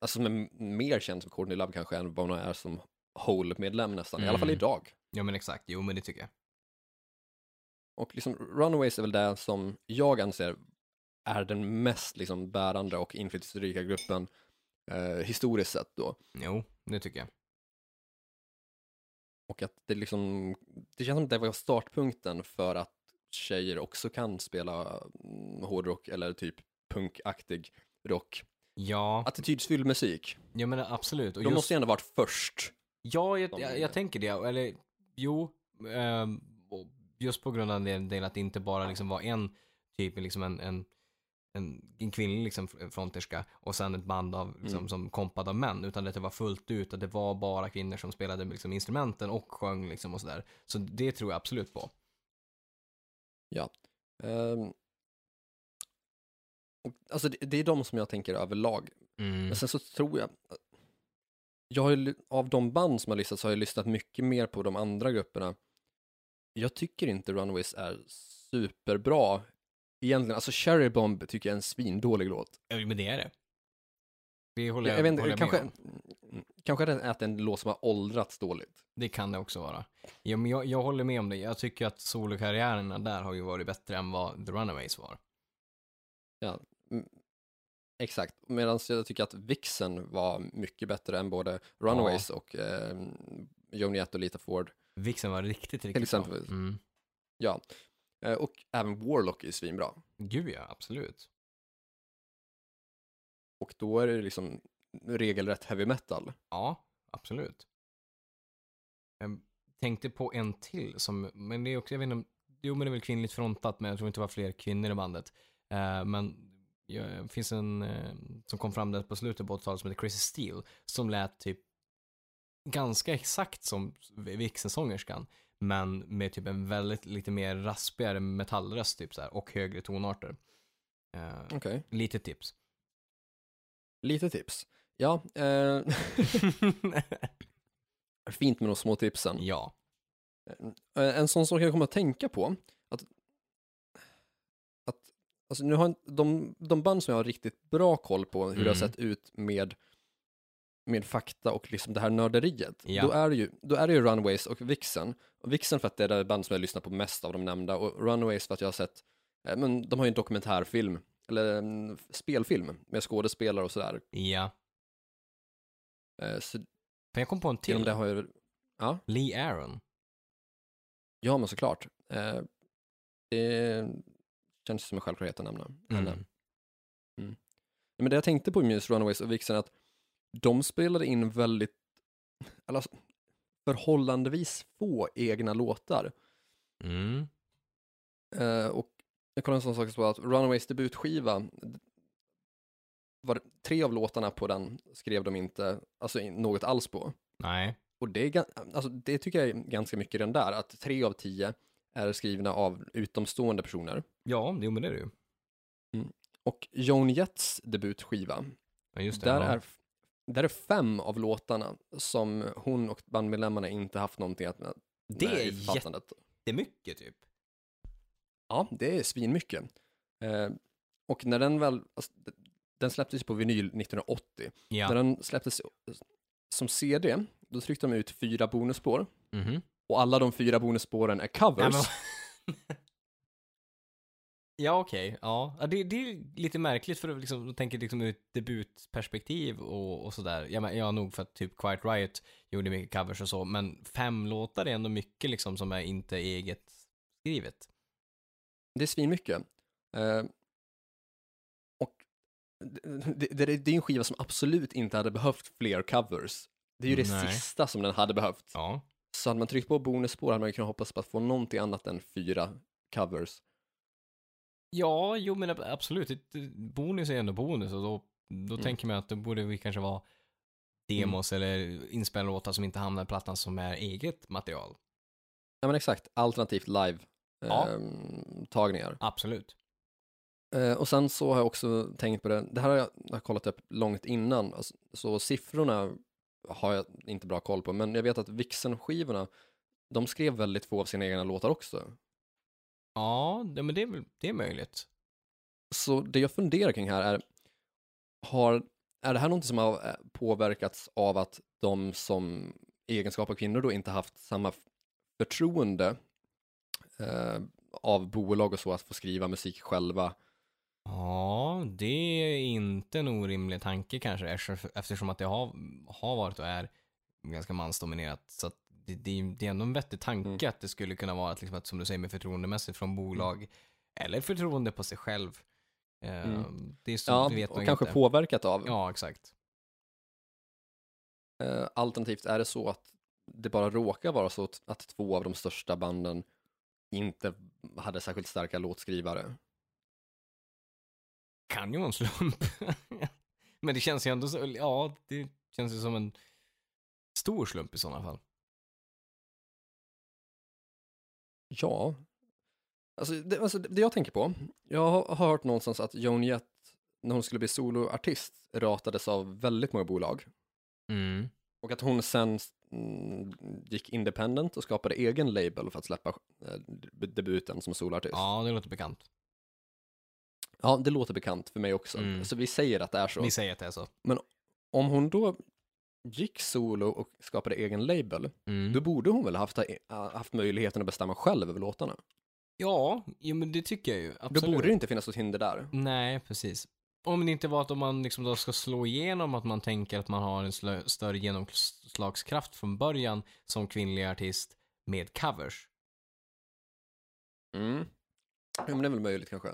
A: alltså som är mer känd som Courtney Love kanske än vad hon är som Hole-medlem nästan, i alla fall
B: Mm.
A: idag.
B: Ja, men exakt. Jo, men det tycker jag.
A: Och liksom Runaways är väl det som jag anser är den mest liksom bärande och inflytelserika gruppen eh, historiskt sett då.
B: Jo, det tycker jag.
A: Och att det liksom, det känns som att det var startpunkten för att tjejer också kan spela mm, hårdrock eller typ punkaktig rock.
B: Ja,
A: Attitydsfylld musik.
B: ja men absolut. Och
A: De
B: just,
A: måste ju ändå varit först.
B: Ja, jag,
A: de-
B: jag, jag tänker det. Eller jo, ehm, och just på grund av den delen att det inte bara liksom var en typ, liksom en, en, en, en kvinnlig liksom fr- fronterska och sen ett band av, liksom,
A: Mm.
B: som kompad av män, utan att det var fullt ut, att det var bara kvinnor som spelade liksom, instrumenten och sjöng liksom, och sådär. Så det tror jag absolut på.
A: Ehm, och, alltså det, det är de som jag tänker överlag
B: Mm.
A: Men sen så tror jag, jag har ju, ly- av de band som har lyssnat så har jag lyssnat mycket mer på de andra grupperna. Jag tycker inte Runaways är superbra egentligen. Alltså Cherry Bomb tycker jag är en svindålig låt.
B: Ja, men det är det. Det håller jag,
A: Jag, vet
B: håller
A: inte,
B: jag
A: kanske,
B: med om.
A: mm, kanske är det att det är en låt som har åldrats dåligt.
B: Det kan det också vara. Ja, men jag, jag håller med om det. Jag tycker att solokarriärerna där har ju varit bättre än vad The Runaways var.
A: Exakt, medan jag tycker att Vixen var mycket bättre än både Runaways och eh, Joni Jett och Lita Ford.
B: Vixen var riktigt, riktigt
A: exempel.
B: bra. Mm.
A: Eh, och även Warlock är svinbra.
B: Gud ja, absolut.
A: Och då är det liksom regelrätt heavy metal.
B: Ja, absolut. Jag tänkte på en till som, men det är också, jag vet inte om, jo men det är väl kvinnligt frontat, men jag tror inte det var fler kvinnor i bandet. Eh, men ja, det finns en eh, som kom fram där på slutet på 80-talet som heter Chrissy Steele, som lät typ ganska exakt som Vixensångerskan, men med typ en väldigt lite mer raspigare metallröst typ så här, och högre tonarter. Eh,
A: Okej.
B: lite tips.
A: Lite tips. Ja, eh, fint med de små tipsen.
B: ja.
A: Eh, En sån sak jag kommer att tänka på, att, att alltså nu har en- de, de band som jag har riktigt bra koll på hur det har
B: Mm.
A: sett ut med, med fakta och liksom det här nörderiet,
B: Ja.
A: då, är det ju, då är det ju Runaways och Vixen. Och Vixen för att det är det band som jag lyssnar på mest av de nämnda och Runaways för att jag har sett, eh, men de har ju en dokumentärfilm, eller en spelfilm med skådespelare och sådär.
B: Ja.
A: Eh, Så
B: För jag kom på en
A: genom
B: till.
A: det har jag
B: Lee Aaron.
A: Ja, men såklart. Eh, det känns som en självklarhet att nämna
B: Mm.
A: henne. Men det jag tänkte på med just Runaways och Vixen är att de spelade in väldigt, eller alltså, förhållandevis få egna låtar.
B: Mm.
A: Eh, och jag kollade en sån sak som var att Runaways debutskiva, d- var tre av låtarna på den skrev de inte alltså, in- något alls på.
B: Nej.
A: Och det, är, gan- alltså, det tycker jag är ganska mycket den där, att tre av tio är skrivna av utomstående personer.
B: Ja, jo men det är det ju.
A: Och Joan Jetts debutskiva,
B: Ja, just det.
A: där,
B: ja.
A: är, där är fem av låtarna som hon och bandmedlemmarna inte haft någonting att
B: Det
A: med
B: är
A: i författandet.
B: jättemycket typ.
A: Ja, det är svinmycket. Eh, och när den väl, alltså, d- den släpptes på vinyl 1980.
B: Ja.
A: När den släpptes eh, som CD, då tryckte de ut fyra bonusspår.
B: Mhm.
A: Och alla de fyra bonusspåren är covers.
B: Ja, men... ja okej. Ja. Ja, det, det är lite märkligt för att liksom, jag tänker liksom ur ett debutperspektiv och, och sådär. Ja, men, ja, nog för att typ Quiet Riot gjorde mycket covers och så, men fem låtar är ändå mycket liksom som är inte eget skrivet.
A: Det är svinmycket. Eh, och det, det, det, det är en skiva som absolut inte hade behövt fler covers. Det är ju det
B: Nej.
A: sista som den hade behövt.
B: Ja.
A: Så hade man tryckt på bonusspår hade man ju kunnat hoppas på att få någonting annat än fyra covers.
B: Ja, jo men ab- absolut. Ett- Bonus är ändå bonus och då, då
A: Mm.
B: tänker man att då borde vi kanske vara demos eller inspelade låtar som inte hamnar i plattan som är eget material.
A: Ja men exakt, alternativt
B: Ja.
A: live-tagningar.
B: Absolut.
A: Eh, och sen så har jag också tänkt på det, det här har jag, jag har kollat upp långt innan, alltså, så siffrorna har jag inte bra koll på, men jag vet att Vixen-skivorna, de skrev väldigt få av sina egna låtar också.
B: Ja, det, men det är, väl- det är möjligt.
A: Så det jag funderar kring här är, har, är det här någonting som har eh, påverkats av att de som i egenskap av kvinnor då inte haft samma f- förtroende eh, av bolag och så att få skriva musik själva?
B: Ja, det är inte en orimlig tanke kanske eftersom- eftersom att det har, har varit och är ganska mansdominerat. Så att det, det, är- det är ändå en vettig tanke
A: Mm.
B: att det skulle kunna vara att, liksom, att som du säger med förtroendemässigt från bolag eller förtroende på sig själv. Eh,
A: Mm.
B: Det är så,
A: Ja,
B: det vet
A: och
B: man
A: kanske
B: inte.
A: påverkat av.
B: Ja, exakt.
A: Eh, Alternativt är det så att det bara råkar vara så att- att två av de största banden inte hade särskilt starka låtskrivare.
B: Kan ju vara en slump. Men det känns ju ändå så, ja, det känns ju som en stor slump i sådana fall.
A: Ja, alltså det, alltså det det jag tänker på, jag har har hört någonstans att Joan Jett, när hon skulle bli soloartist, ratades av väldigt många bolag.
B: Mm.
A: Och att hon sen mm, gick independent och skapade egen label för att släppa eh, debuten som soloartist.
B: Ja, det låter bekant.
A: Ja, det låter bekant för mig också.
B: Mm.
A: Så vi säger att det är så.
B: Vi säger att det är så.
A: Om hon då gick solo och skapade egen label,
B: Mm.
A: Då borde hon väl haft, haft möjligheten att bestämma själv över låtarna.
B: Ja, jo, men det tycker jag ju. Absolut.
A: Då borde det inte finnas något hinder där.
B: Nej, precis. Om det inte var att om man liksom då ska slå igenom att man tänker att man har en slö- större genomslagskraft från början som kvinnlig artist med covers.
A: Mm. Ja, men det är väl möjligt kanske.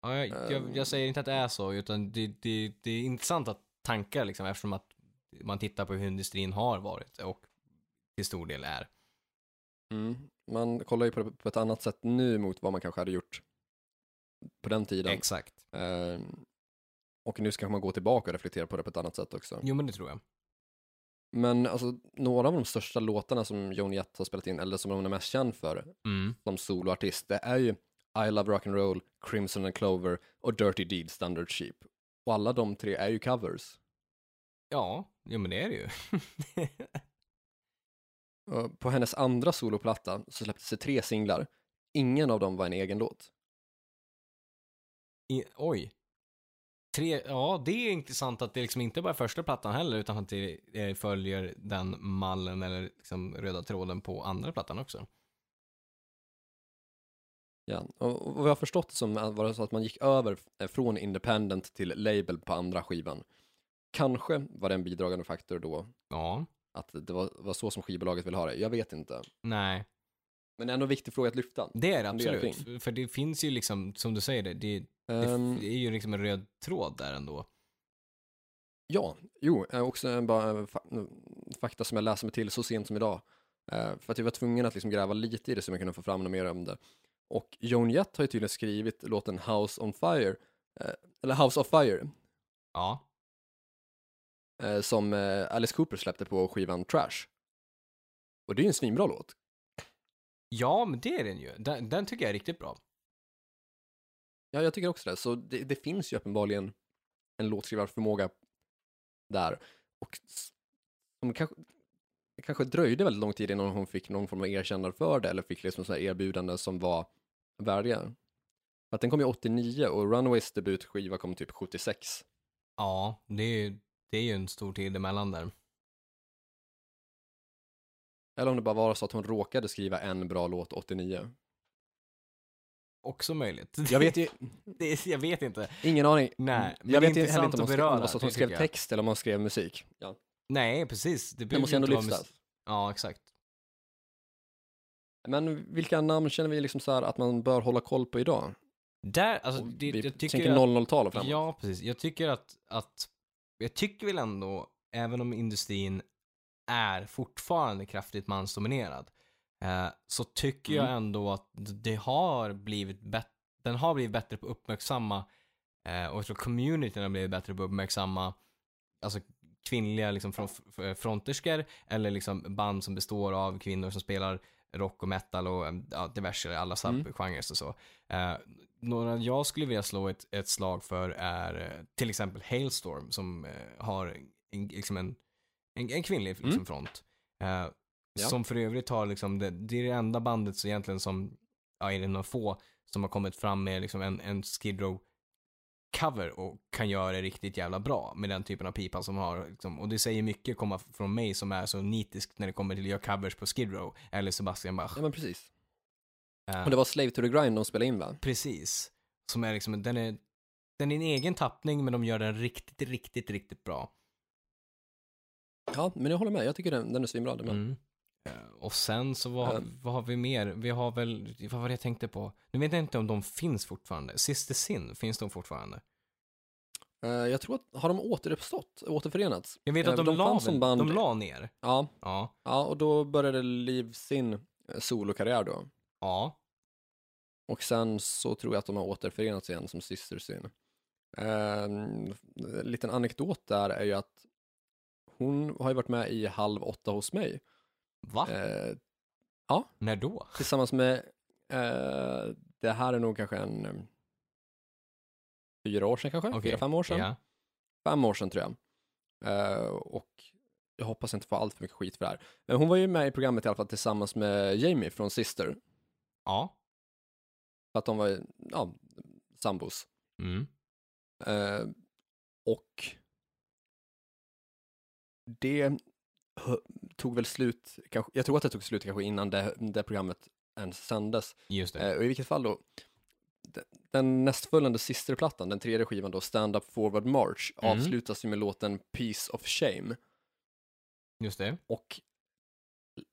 B: Ja, jag,
A: Eh.
B: jag, jag säger inte att det är så, utan det, det, det är intressant att tanka liksom, eftersom att man tittar på hur industrin har varit och till stor del är.
A: Mm. Man kollar ju på det på ett annat sätt nu mot vad man kanske hade gjort på den tiden.
B: Exakt.
A: Eh, och nu ska man gå tillbaka och reflektera på det på ett annat sätt också.
B: Jo, men det tror jag.
A: Men alltså, några av de största låtarna som Joan Jett har spelat in, eller som hon är mest känd för
B: Mm.
A: som soloartist, det är ju I Love Rock'n'Roll, Crimson and Clover och Dirty Deed, Standard Sheep. Och alla de tre är ju covers.
B: Ja, jo, men det är det ju.
A: Och På hennes andra soloplatta så släpptes det tre singlar. Ingen av dem var en egen låt.
B: I, oj. Tre, ja, det är intressant att det liksom inte bara är första plattan heller, utan att det eh, följer den mallen eller liksom röda tråden på andra plattan också.
A: Ja. Och och vad jag har förstått det som var det så att man gick över eh, från independent till label på andra skivan. Kanske var det en bidragande faktor då,
B: Ja,
A: att det var, var så som skivbolaget vill ha det. Jag vet inte.
B: nej,
A: Men ändå en viktig fråga att lyfta.
B: det är det
A: Fundera
B: absolut. För det finns ju liksom, som du säger, det, det,
A: Ehm,
B: det är ju liksom en röd tråd där ändå.
A: Ja, jo, eh, också en bara eh, fa- fakta som jag läser mig till så sent som idag. Eh, För att jag var tvungen att liksom gräva lite i det så jag kunde få fram något mer om det. Och Joan Jett har ju tydligen skrivit låten House on Fire, eh, eller House of Fire,
B: Ja,
A: eh, som eh, Alice Cooper släppte på skivan Trash. Och det är ju en svinbra låt.
B: ja men det är den ju. Den, den tycker jag är riktigt bra.
A: Ja, jag tycker också det. Så det, det finns ju uppenbarligen en låtskrivarförmåga där. Och s- som kanske, det kanske dröjde väldigt lång tid innan hon fick någon form av erkännande för det eller fick liksom sådana erbjudanden som var värdiga. För att den kom ju 89 och Runaways debutskiva kom typ 76.
B: Ja, det är ju, det är ju en stor tid emellan där.
A: Eller om det bara var så att hon råkade skriva en bra låt 89.
B: Också möjligt.
A: Jag vet ju,
B: det, jag vet inte.
A: ingen aning. Mm.
B: Nej, men
A: jag
B: det är
A: vet ju heller
B: intressant
A: inte om hon
B: att
A: skrev, om det
B: beröra,
A: var så att hon
B: det
A: skrev
B: tycker jag.
A: text eller om hon skrev musik. Ja.
B: Nej, precis. Det,
A: Det
B: behöver
A: måste
B: ju
A: ändå
B: inte vara
A: lyftas.
B: mus- Ja, exakt.
A: Men vilka namn känner vi liksom så här att man bör hålla koll på idag?
B: Där, alltså,
A: Och
B: det,
A: vi
B: jag tycker
A: tänker
B: att,
A: 00-tal och framåt.
B: Ja, precis. Jag tycker att, att jag tycker väl ändå även om industrin är fortfarande kraftigt mansdominerad, eh, så tycker jag
A: Mm.
B: ändå att det har blivit bet- den har blivit bättre på att uppmärksamma eh, och jag tror communityn har blivit bättre på att uppmärksamma alltså, kvinnliga liksom, fron- f- f- fronterskor eller liksom, band som består av kvinnor som spelar rock och metal och eh, ja, diverse alla
A: Mm.
B: subgenrer och så. Eh, några jag skulle vilja slå ett, ett slag för är eh, till exempel Hailstorm som eh, har en, liksom en, en, en kvinnlig liksom,
A: Mm.
B: front. Eh, Som för övrigt har liksom, det, det är det enda bandet så egentligen som, ja är det några få, som har kommit fram med liksom en, en Skid Row cover och kan göra det riktigt jävla bra med den typen av pipa som har, liksom, och det säger mycket komma från mig som är så nitisk när det kommer till att göra covers på Skid Row eller Sebastian Bach.
A: Ja, men precis.
B: Eh,
A: Och det var Slave to the Grind de spelade in va?
B: Precis. Som är liksom, den är, den är en egen tappning men de gör den riktigt, riktigt, riktigt bra.
A: Ja, men jag håller med. Jag tycker den, den är svinbra. den med.
B: Eh, Och sen så vad,
A: Eh.
B: vad har vi mer? Vi har väl, vad var det jag tänkte på? Nu vet jag inte om de finns fortfarande. Sister Sin, finns de fortfarande? Mm.
A: Eh, jag tror att, har de återuppstått, återförenats?
B: Jag vet
A: Eh,
B: att de,
A: de
B: la,
A: fanns
B: väl,
A: som band-
B: de la ner.
A: Ja,
B: Ja.
A: ja och då började Liv sin eh, solokarriär då.
B: Ja.
A: Och sen så tror jag att de har återförenats igen som Sister Sin. En liten anekdot där är ju att hon har ju varit med i Halv åtta hos mig.
B: Va?
A: Eh,
B: När då?
A: tillsammans med, eh, det här är nog kanske en eh, fyra år sedan kanske,
B: Okej.
A: fyra, fem år sedan.
B: Ja.
A: fem år sedan tror jag. Eh, och jag hoppas jag inte få allt för mycket skit för det här. Men hon var ju med i programmet i alla fall tillsammans med Jamie från Sister.
B: Ja.
A: För att de var ju, ja, sambos.
B: Mm.
A: Eh, och det hö- tog väl slut, kanske, jag tror att det tog slut kanske innan det, det programmet ens sändes.
B: Just det.
A: Eh, och i vilket fall då, de- den nästföljande Sister-plattan, den tredje skivan då, Stand Up Forward March,
B: Mm.
A: avslutas ju med låten Piece of Shame.
B: Just det.
A: Och l-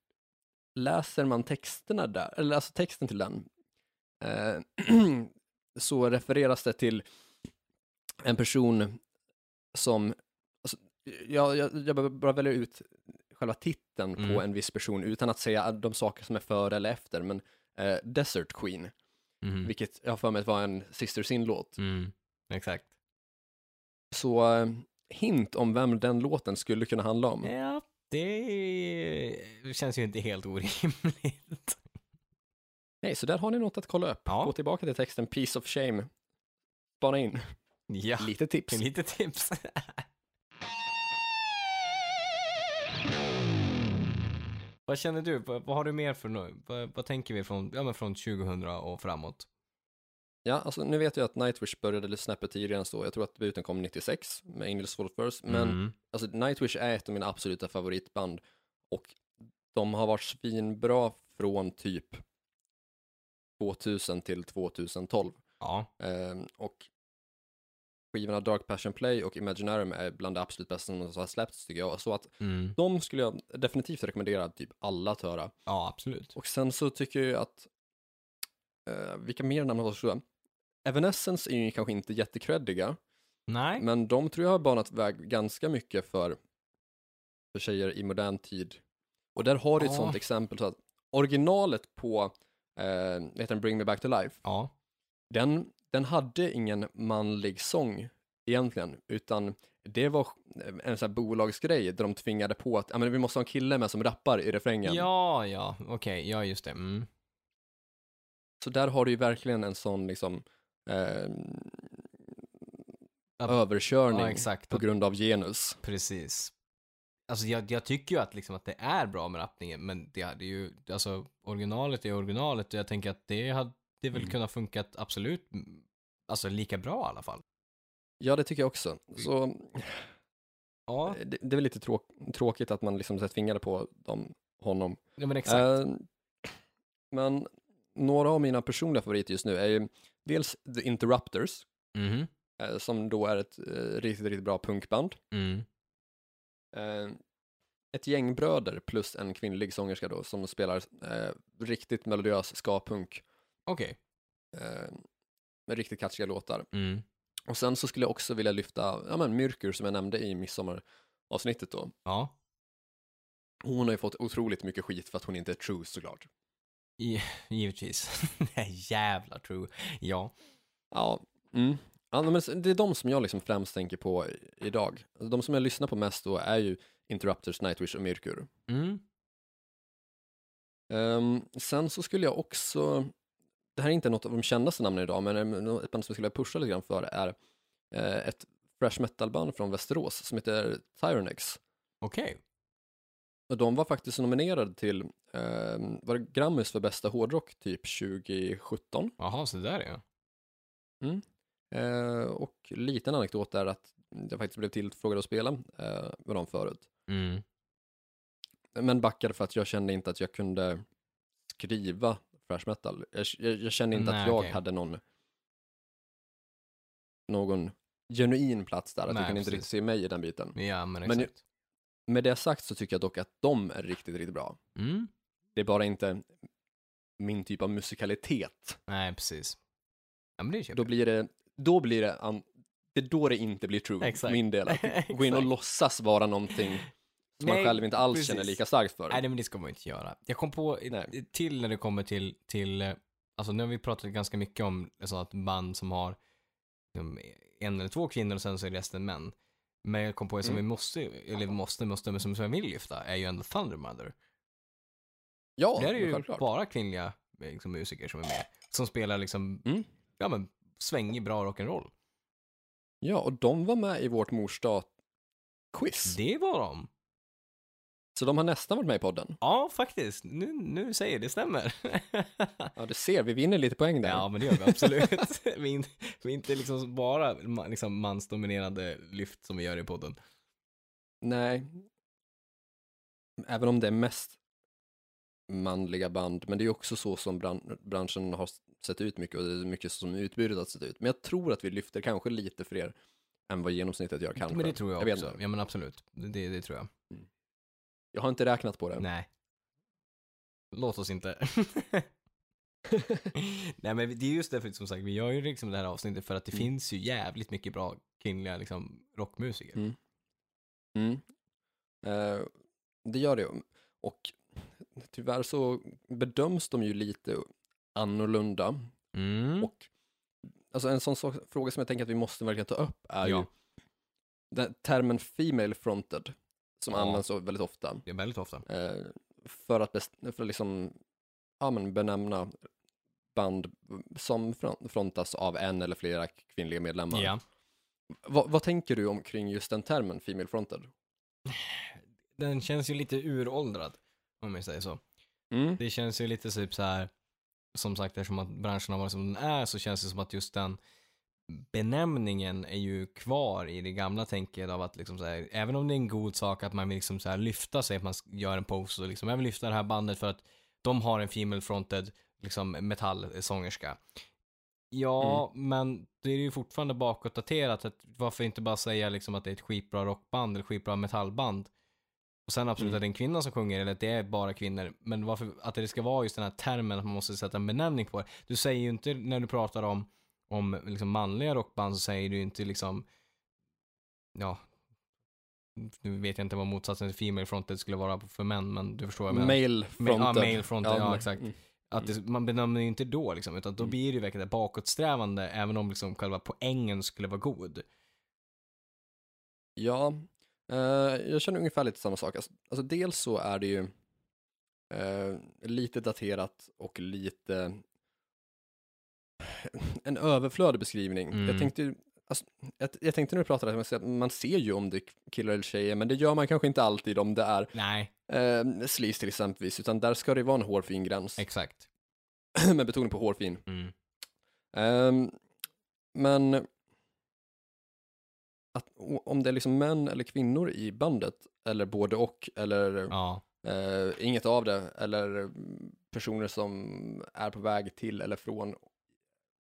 A: läser man texterna där, eller alltså texten till den, eh, så refereras det till en person som, alltså, jag, jag, jag behöver bara väljer ut själva titeln
B: Mm.
A: på en viss person utan att säga de saker som är före eller efter, men eh, Desert Queen,
B: Mm.
A: vilket jag har för mig var en Sister Sin-låt.
B: Mm. Exakt.
A: Så eh, hint om vem den låten skulle kunna handla om.
B: Ja, det känns ju inte helt orimligt.
A: Nej, så där har ni något att kolla upp.
B: Ja.
A: Gå tillbaka till texten Piece of Shame. Spana in.
B: Ja.
A: Lite tips.
B: Lite tips. vad känner du? Vad, vad har du mer för nu? Vad, vad tänker vi från, ja, men från 2000 och framåt?
A: Ja, alltså nu vet jag att Nightwish började lite snäppet tidigare än så. Jag tror att debuten kom 96 med Angels Fall First. Men
B: Mm.
A: alltså, Nightwish är ett av mina absoluta favoritband. Och de har varit svinbra från typ 2000 till 2012.
B: Ja.
A: Ehm, och skivorna Dark Passion Play och Imaginarium är bland det absolut bästa som har släppts tycker jag. Så att
B: Mm.
A: de skulle jag definitivt rekommendera typ alla att höra.
B: Ja, absolut.
A: Och sen så tycker jag ju att, eh, vilka mer namn har jag? Evanescence är ju kanske inte jättekreddiga,
B: Nej.
A: men de tror jag har banat väg ganska mycket för, för tjejer i modern tid. Och där har du ett
B: Ja.
A: sånt exempel, så att originalet på, eh, heter den Bring Me Back To Life,
B: Ja.
A: den, den hade ingen manlig sång egentligen, utan det var eh, en sån här bolagsgrej där de tvingade på att, ja men vi måste ha en kille med som rappar i refrängen.
B: Ja, ja. Okej, ja just det. Mm.
A: Så där har du ju verkligen en sån liksom eh,
B: Ja.
A: överkörning
B: Ja, exakt.
A: på grund av genus.
B: Precis. Alltså jag, jag tycker ju att, liksom, att det är bra med rappningen, men det hade ju, alltså originalet är originalet och jag tänker att det hade det väl
A: Mm.
B: kunnat funkat absolut, mm, alltså lika bra i alla fall.
A: Ja, det tycker jag också. Så
B: Ja,
A: eh, det, det är väl lite tråk- tråkigt att man liksom sätter fingrar på dem, honom.
B: ja men exakt.
A: Eh, men några av mina personliga favoriter just nu är ju dels The Interrupters,
B: Mhm.
A: eh, som då är ett eh, riktigt, riktigt bra punkband.
B: Mm.
A: Eh, ett gäng bröder plus en kvinnlig sångerska då som spelar eh, riktigt melodiös ska-punk.
B: Okej.
A: eh, med riktigt catchiga låtar.
B: Mm.
A: Och sen så skulle jag också vilja lyfta ja, men Myrkur som jag nämnde i Midsommar avsnittet då.
B: Ja.
A: Hon har ju fått otroligt mycket skit för att hon inte är true såklart.
B: Givetvis. Jävla true. Ja.
A: Ja. Mm. ja men det är de som jag liksom främst tänker på i- idag. Alltså, De som jag lyssnar på mest då är ju Interrupters, Nightwish och Myrkur.
B: Mm.
A: Ehm, sen så skulle jag också, det här är inte något av de kändaste namnen idag, men eh, ett band som jag skulle pusha lite grann för är eh, ett fresh metal-band från Västerås som heter Tyronex.
B: Okej.
A: Och de var faktiskt nominerade till, eh, var det Grammis för bästa hårdrock typ 2017?
B: Jaha, så där ja.
A: Eh, och liten anekdot är att jag faktiskt blev tillfrågad att spela eh, med dem förut.
B: Mm.
A: Men backade för att jag kände inte att jag kunde skriva fresh metal. Jag, jag, jag kände inte
B: Nej,
A: att jag
B: okej.
A: hade någon någon genuin plats där, att
B: Nej,
A: du kan inte
B: precis.
A: riktigt se mig i den biten.
B: Ja, men
A: Men-
B: exakt.
A: Med det sagt så tycker jag dock att de är riktigt, riktigt bra.
B: Mm.
A: Det är bara inte min typ av musikalitet.
B: Nej, precis. Ja, men det köper
A: Då blir det, då blir det, an, det är då det inte blir true,
B: Exakt.
A: min del. Att
B: jag.
A: gå in och
B: Exakt.
A: låtsas vara någonting som man
B: Nej,
A: själv inte alls
B: precis.
A: känner lika starkt för.
B: Nej, det- men det ska man ju inte göra. Jag kom på i-
A: Nej.
B: till när det kommer till, till, eh, alltså nu har vi pratat ganska mycket om så att band som har um, en eller två kvinnor och sen så är resten män. Men jag kom på en som
A: Mm.
B: vi måste, eller vi måste, måste, men som som jag vill lyfta är ju ändå Thunder Mother.
A: ja,
B: Där är ju
A: självklart.
B: bara kvinnliga eh, liksom, musiker som är med. Som spelar liksom,
A: Mm.
B: ja men svängig bra rock'n'roll.
A: Ja, och de var med i vårt morsdag-quiz.
B: Det var de.
A: Så de har nästan varit med i podden.
B: Ja, faktiskt. Nu, nu säger jag det stämmer.
A: Ja, du ser, vi vinner lite poäng där.
B: Ja, men det gör vi absolut. vi, är inte, vi är inte liksom bara ma- liksom mansdominerade lyft som vi gör i podden.
A: Nej. Även om det är mest manliga band, men det är också så som bran- branschen har sett ut mycket och det är mycket som utbudet har sett ut. Men jag tror att vi lyfter kanske lite fler än vad genomsnittet gör kanske.
B: Men det tror jag,
A: vet
B: också.
A: inte.
B: Ja, men absolut. Det- Det, det tror jag.
A: Jag har inte räknat på det.
B: Nej. Låt oss inte. Nej, men det är just därför som sagt, vi gör ju liksom det här avsnittet för att det
A: Mm.
B: finns ju jävligt mycket bra kvinnliga liksom, rockmusiker.
A: Mm. Mm. Eh, det gör det. Och tyvärr så bedöms de ju lite annorlunda.
B: Mm.
A: Och alltså en sån sak, fråga som jag tänker att vi måste verkligen ta upp är ju
B: Ja.
A: den, termen female fronted som
B: Ja.
A: används så väldigt ofta
B: Det är väldigt ofta.
A: eh, för att, best, för att liksom, ja, men benämna band som fron- frontas av en eller flera kvinnliga medlemmar.
B: Ja.
A: Vad- vad tänker du om kring just den termen female fronted?
B: Den känns ju lite uråldrad, om jag säger så.
A: Mm.
B: Det känns ju lite typ så här, som sagt eftersom att branschen har varit som den är så känns det som att just den benämningen är ju kvar i det gamla tänket av att liksom så här, även om det är en god sak att man vill liksom så här lyfta sig, att man gör en post och liksom, jag vill lyfta det här bandet för att de har en female fronted liksom metallsångerska. Ja, men det är ju fortfarande bakåtdaterat. Att varför inte bara säga liksom att det är ett skitbra rockband eller skitbra metallband? Och sen absolut
A: Mm.
B: att det är en kvinna som sjunger eller att det är bara kvinnor. Men varför, att det ska vara just den här termen att man måste sätta en benämning på det. Du säger ju inte när du pratar om, om liksom manliga rockband så säger du ju inte liksom, ja, nu vet jag inte vad motsatsen till female fronted skulle vara för män, men du förstår vad jag menar.
A: Male
B: Ma- ja,
A: fronted.
B: male fronted, ja,
A: men-
B: exakt.
A: mm.
B: Att det, man benämner ju inte då liksom, utan då
A: Mm.
B: blir det ju verkligen bakåtsträvande även om liksom själva poängen skulle vara god.
A: Ja, eh, jag känner ungefär lite samma sak. Alltså, alltså dels så är det ju eh, lite daterat och lite en överflödig beskrivning.
B: Mm.
A: Jag tänkte ju- alltså, jag, jag tänkte när du pratade om att man ser ju om det är killar eller tjejer, men det gör man kanske inte alltid om det är
B: Nej,
A: eh, sleaze till exempelvis, utan där ska det vara en hårfin gräns,
B: exakt.
A: med betoning på hårfin.
B: Mm.
A: Ehm, men att, o- om det är liksom män eller kvinnor i bandet, eller både och, eller
B: Ja,
A: eh, inget av det, eller mm, personer som är på väg till eller från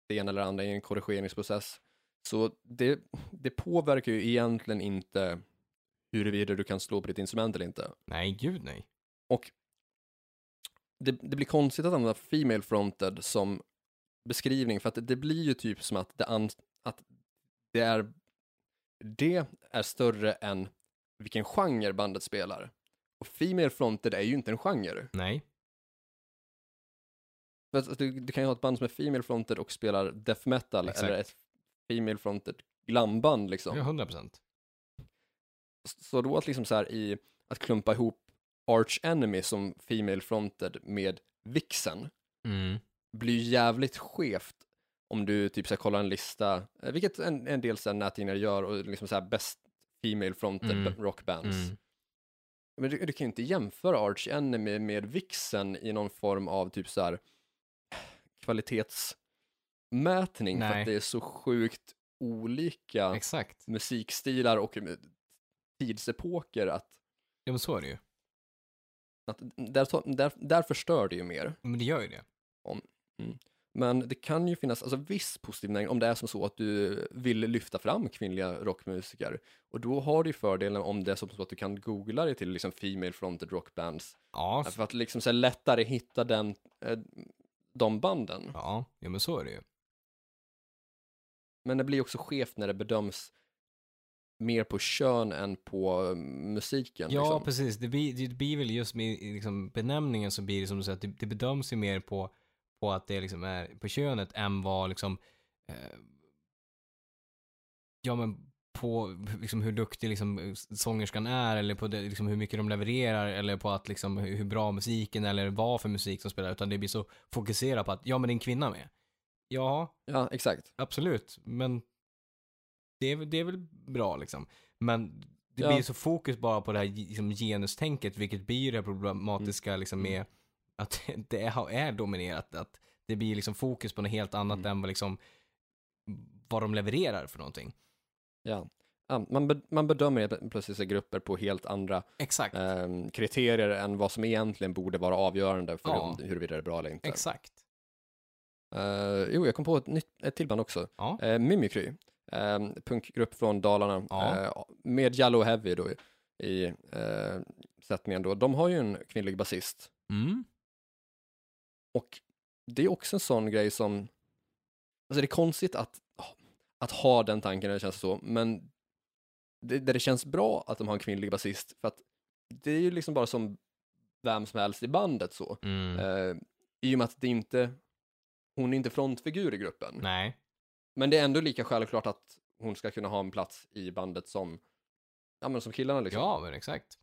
A: det ena eller andra i en korrigeringsprocess, så det, det påverkar ju egentligen inte huruvida du kan slå på ditt instrument eller inte.
B: nej gud nej.
A: det, det blir konstigt att använda female fronted som beskrivning för att det, det blir ju typ som att det, an, att det är det är större än vilken genre bandet spelar. Och Female Fronted är ju inte en genre.
B: Nej.
A: För att, att du, du kan ju ha ett band som är Female Fronted och spelar death metal
B: Exakt.
A: eller ett Female Fronted glamband liksom.
B: Ja, 100 procent.
A: S- Så då att liksom så här i, att klumpa ihop Arch Enemy som Female Fronted med Vixen
B: Mm.
A: blir jävligt skevt om du typ ska kolla en lista, eh, vilket en, en del så här nättidningar gör och liksom så här bäst Female Fronted
B: Mm.
A: rockbands.
B: Mm.
A: Men du, du kan ju inte jämföra Arch Enemy med Vixen i någon form av typ så här kvalitetsmätning för
B: Nej.
A: att det är så sjukt olika
B: Exakt.
A: musikstilar och eh, tidsepoker att,
B: Ja, men så är det ju.
A: att där, tar- där, där förstör det ju mer.
B: Men det gör ju det.
A: Men det kan ju finnas alltså, viss positiv näring om det är som så att du vill lyfta fram kvinnliga rockmusiker. Och då har du ju fördelen om det är som så att du kan googla dig till liksom Female Fronted Rockbands
B: Ja,
A: Ja, För att liksom så här lättare hitta den, eh, de banden.
B: ja. ja men så är det ju.
A: Men det blir också skevt när det bedöms mer på kön än på eh, musiken.
B: Ja,
A: liksom.
B: precis. Det blir, det blir väl just med i liksom benämningen så blir det som du säger att det, det bedöms ju mer på, på att det liksom är på könet än vad liksom, eh, ja men på liksom hur duktig liksom sångerskan är eller på det, liksom hur mycket de levererar eller på att liksom hur hur bra musiken eller vad för musik som spelar utan det blir så fokuserat på att ja men det är en kvinna med. Ja,
A: ja, exakt.
B: Absolut, men det är, väl- det är väl bra liksom. Men det
A: Ja.
B: blir så fokus bara på det här liksom, genustänket, vilket blir det här problematiska
A: Mm.
B: liksom, med att det är, är dominerat. Att det blir liksom fokus på något helt annat
A: Mm.
B: än vad, liksom, vad de levererar för någonting.
A: Ja. Ja, Man, be- man bedömer helt plötsligt så här grupper på helt andra
B: Exakt,
A: eh, kriterier än vad som egentligen borde vara avgörande för
B: Ja.
A: om, huruvida det är bra eller inte.
B: exakt.
A: Eh, jo, jag kom på ett, nytt, ett till band också.
B: Ja.
A: Eh, Mimikry, eh, punkgrupp från Dalarna,
B: Ja.
A: eh, med Yellow Heavy då i, i eh, sättningen då. De har ju en kvinnlig basist
B: Mm.
A: och det är också en sån grej som, alltså det är konstigt att, att ha den tanken när det känns så, men det, där det känns bra att de har en kvinnlig basist för att det är ju liksom bara som vem som helst i bandet så.
B: Mm.
A: Eh, I och med att det inte, hon är inte frontfigur i gruppen.
B: Nej,
A: Men det är ändå lika självklart att hon ska kunna ha en plats i bandet som, ja, men som killarna. Liksom.
B: ja men exakt.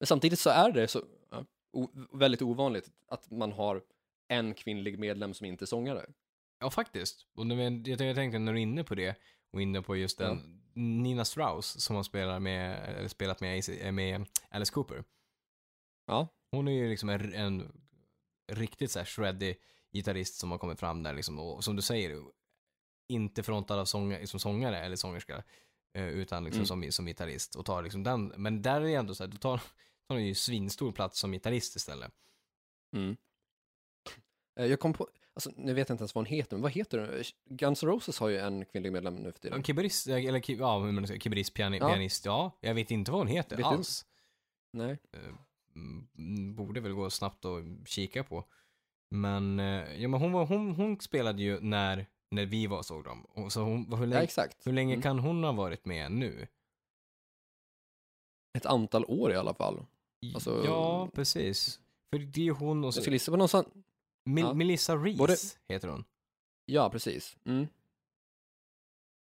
A: Men samtidigt så är det så ja, o- väldigt ovanligt att man har en kvinnlig medlem som inte är sångare.
B: Ja, faktiskt. Och nu, jag, jag tänkte när du är inne på det och inne på just den Nina Strauss som har spelat med, eller spelat med, AC med Alice Cooper.
A: Ja.
B: Hon är ju liksom en, en riktigt så här shreddy gitarrist som har kommit fram där liksom och som du säger inte frontad av sång, som sångare eller sångerska eh, utan liksom
A: Mm.
B: som, som gitarrist och tar liksom den, men där är det ändå så här, då tar, tar hon ju svinstor plats som gitarrist istället. Mm.
A: Eh, Jag kom på, alltså, nu vet jag inte ens vad hon heter, men vad heter hon? Eh, Guns N' Roses har ju en kvinnlig medlem nu för tiden.
B: Kibarist, eh, eller ki- ja, hur man säger, kibarist, piani,
A: Ja.
B: pianist, ja, jag vet inte vad hon heter
A: Vet du?
B: alls.
A: Nej.
B: mm, borde väl gå snabbt och kika på. Men, eh, ja, men hon, var, hon, hon spelade ju när, när vi var och såg dem. Och så hon, hur
A: Ja,
B: länge,
A: exakt.
B: hur länge
A: Mm.
B: kan hon ha varit med nu?
A: Ett antal år i alla fall. Alltså-
B: ja, precis. För det är ju hon och så,
A: Jag skulle gissa på någon sån,
B: Mel-
A: ja.
B: Melissa Reese
A: Både-
B: heter hon.
A: ja precis. Mm.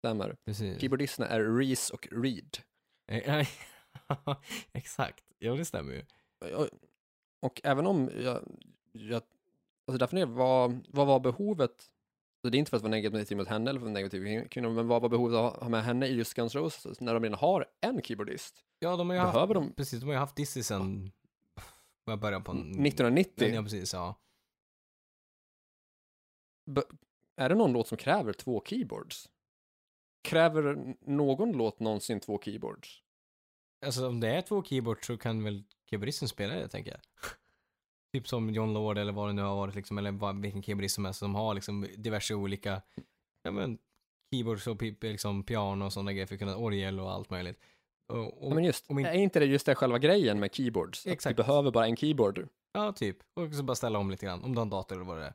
A: Stämmer.
B: Precis.
A: Keyboardisterna är Reese och Reed.
B: Eh, Exakt, ja det stämmer ju.
A: Och, och även om jag, jag alltså därför är vad, vad var behovet, så det är inte för att vara negativ mot henne eller för att vara negativ mot kvinnor, men vad var behovet av att ha med henne i just Guns N' Roses när de redan har en keyboardist?
B: Ja, de har ju haft,
A: Behöver de
B: precis, de har ju haft Dizzy sen vad början på... en-
A: 1990?
B: Ja, precis, ja.
A: Är det någon låt som kräver två keyboards? Kräver någon låt någonsin två keyboards?
B: Alltså om det är två keyboards så kan väl keyboardisten spela det tänker jag. typ som John Lord eller vad det nu har varit liksom, eller vad, vilken keyboardist som helst som har liksom diverse olika, ja men keyboards och pi- liksom piano och sådana grejer för att kunna, orgel och allt möjligt. Och,
A: Ja,
B: och,
A: men just,
B: om in-
A: är inte det just det själva grejen med keyboards? Att
B: Exakt.
A: du behöver bara en keyboard?
B: ja, typ. Och så bara ställa om lite grann, om du har en dator eller vad det är.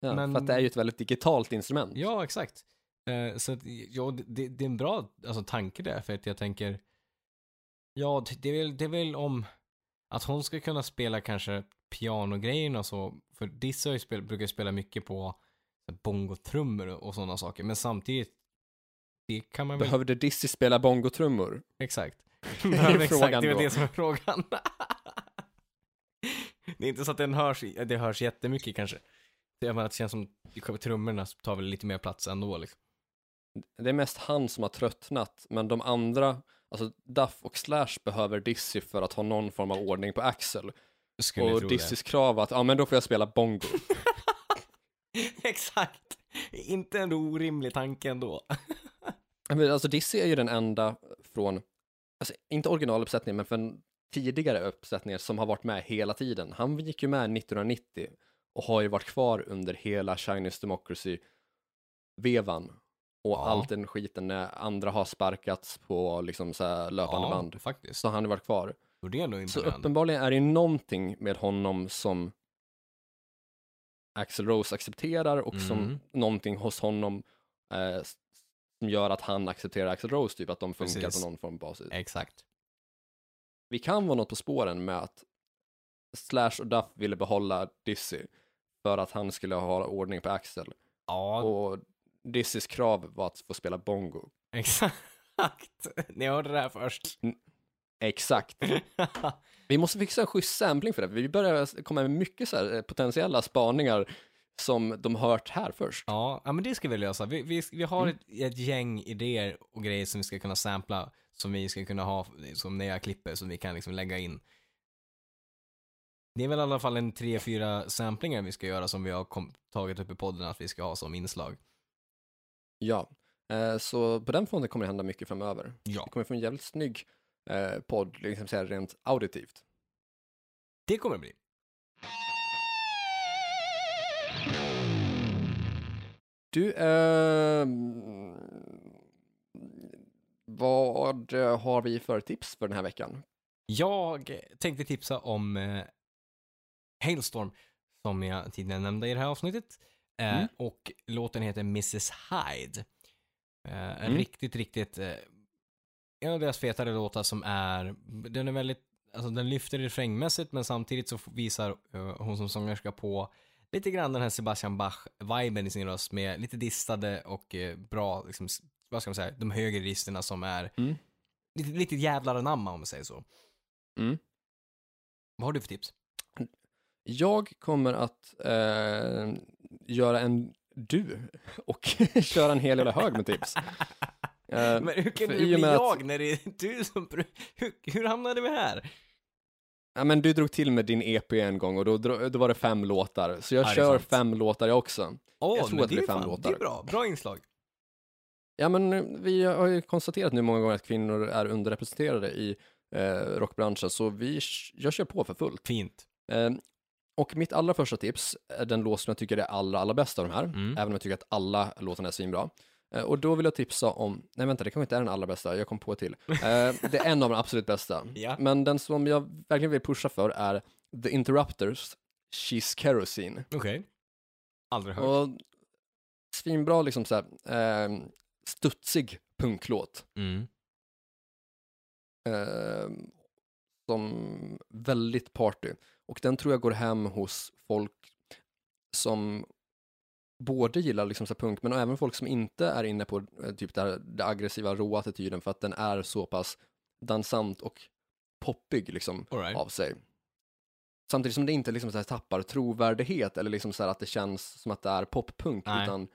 A: Ja,
B: Men-
A: För att det är ju ett väldigt digitalt instrument.
B: Ja, exakt. Eh, så att, ja, det, det är en bra alltså, tanke där, för att jag tänker, Ja, det- det är, väl, det är väl om att hon ska kunna spela kanske pianogrejerna och så. För Dizzy har ju spel, brukar ju spela mycket på bongotrummor och sådana saker. Men samtidigt, det kan man väl...
A: Behövde Dizzy spela bongotrummor?
B: Exakt.
A: är
B: exakt,
A: frågan
B: det är
A: då.
B: det som är frågan. det är inte så att den hörs, i- det hörs jättemycket kanske. Det, jag menar, det känns som att trummorna tar väl lite mer plats ändå liksom.
A: Det är mest han som har tröttnat, men de andra, alltså Duff och Slash behöver Dizzy för att ha någon form av ordning på Axel.
B: Skulle
A: Och
B: tro
A: Dizzys krav var att, ja men då får jag spela bongo.
B: det. Exakt. Inte en orimlig tanke ändå.
A: Men alltså Dizzy är ju den enda från, alltså inte originaluppsättningen, men från tidigare uppsättningar som har varit med hela tiden. Han gick ju med 1990 och har ju varit kvar under hela Chinese Democracy-vevan. Och
B: Ja.
A: allt den skiten när andra har sparkats på liksom så här löpande band.
B: faktiskt.
A: Så har han har varit kvar.
B: Och det är ändå
A: Så
B: imponerande.
A: uppenbarligen är det ju någonting med honom som Axel Rose accepterar och som
B: Mm.
A: någonting hos honom eh, s- som gör att han accepterar Axel Rose, typ att de funkar
B: Precis. Eh.
A: på någon form av basis.
B: Exakt.
A: Vi kan vara något på spåren med att Slash och Duff ville behålla Dizzy för att han skulle ha ordning på Axel
B: Ja,
A: och Dizzys krav var att få spela bongo.
B: exakt. Ni hörde det här först.
A: Exakt. Vi måste fixa en schysst sampling för det. Vi börjar komma med mycket så här eh, potentiella spaningar som de hört här först.
B: ja, ja, men det ska vi lösa. Vi, vi, vi har ett, ett gäng idéer och grejer som vi ska kunna sampla, som vi ska kunna ha som nya klipper som vi kan liksom lägga in. Det är väl i alla fall en tre, fyra samplingar vi ska göra som vi har kom, tagit upp i podden att vi ska ha som inslag.
A: Ja, eh, så på den fronten kommer det hända mycket framöver.
B: Ja.
A: Vi kommer få en jävligt snygg eh, podd, liksom så här rent auditivt.
B: Det kommer det bli.
A: Du, eh, vad eh, har vi för tips för den här veckan?
B: Jag tänkte tipsa om eh, Hailstorm, som jag tidigare nämnde i det här avsnittet. Eh,
A: Mm.
B: Och låten heter Mrs Hyde. Eh, en
A: Mm.
B: Riktigt, riktigt... Eh, en av deras fetare låtar som är... Den är väldigt... Alltså den lyfter refrängmässigt men samtidigt så f- visar eh, hon som sångerska på lite grann den här Sebastian Bach-viben i sin röst med lite distade och eh, bra, liksom, s- vad ska man säga, de högre registerna som är
A: Mm.
B: lite, lite jävlar anamma om man säger så.
A: Mm.
B: Vad har du för tips?
A: Jag kommer att eh, göra en du och köra en hel jävla hög med tips. Eh,
B: Men hur kan
A: för
B: det
A: i och
B: bli
A: med att-
B: jag när det är du som... pr- Hur, hur hamnade vi här?
A: Ja, men du drog till med din EP en gång och då, dro- då var det fem låtar. Så jag
B: Ja, det är
A: kör
B: sant.
A: fem låtar jag också.
B: Åh,
A: Jag tror
B: men
A: att det
B: är
A: blir fem
B: fan-
A: låtar.
B: Det är bra, bra inslag.
A: Ja, men eh, vi har ju konstaterat nu många gånger att kvinnor är underrepresenterade i eh, rockbranschen, så vi, jag kör på för fullt.
B: Fint.
A: Eh, och mitt allra första tips är den låt som jag tycker är allra, allra bäst av de här,
B: Mm.
A: även om jag tycker att alla låtarna är svinbra. Eh, och då vill jag tipsa om, nej vänta, det kanske inte är den allra bästa, jag kom på till. Eh, det är en av de absolut bästa.
B: Ja.
A: Men den som jag verkligen vill pusha för är The Interrupters, She's Kerosene.
B: Okej. Aldrig hört.
A: Och svinbra, liksom så här, eh, studsig punklåt.
B: Mm.
A: Eh, som väldigt party. Och den tror jag går hem hos folk som både gillar liksom så här punk, men även folk som inte är inne på eh, typ det här, det aggressiva, råa attityden för att den är så pass dansant och poppig liksom
B: All right.
A: av sig. Samtidigt som det inte liksom så här tappar trovärdighet eller liksom så här att det känns som att det är poppunk
B: Nej.
A: utan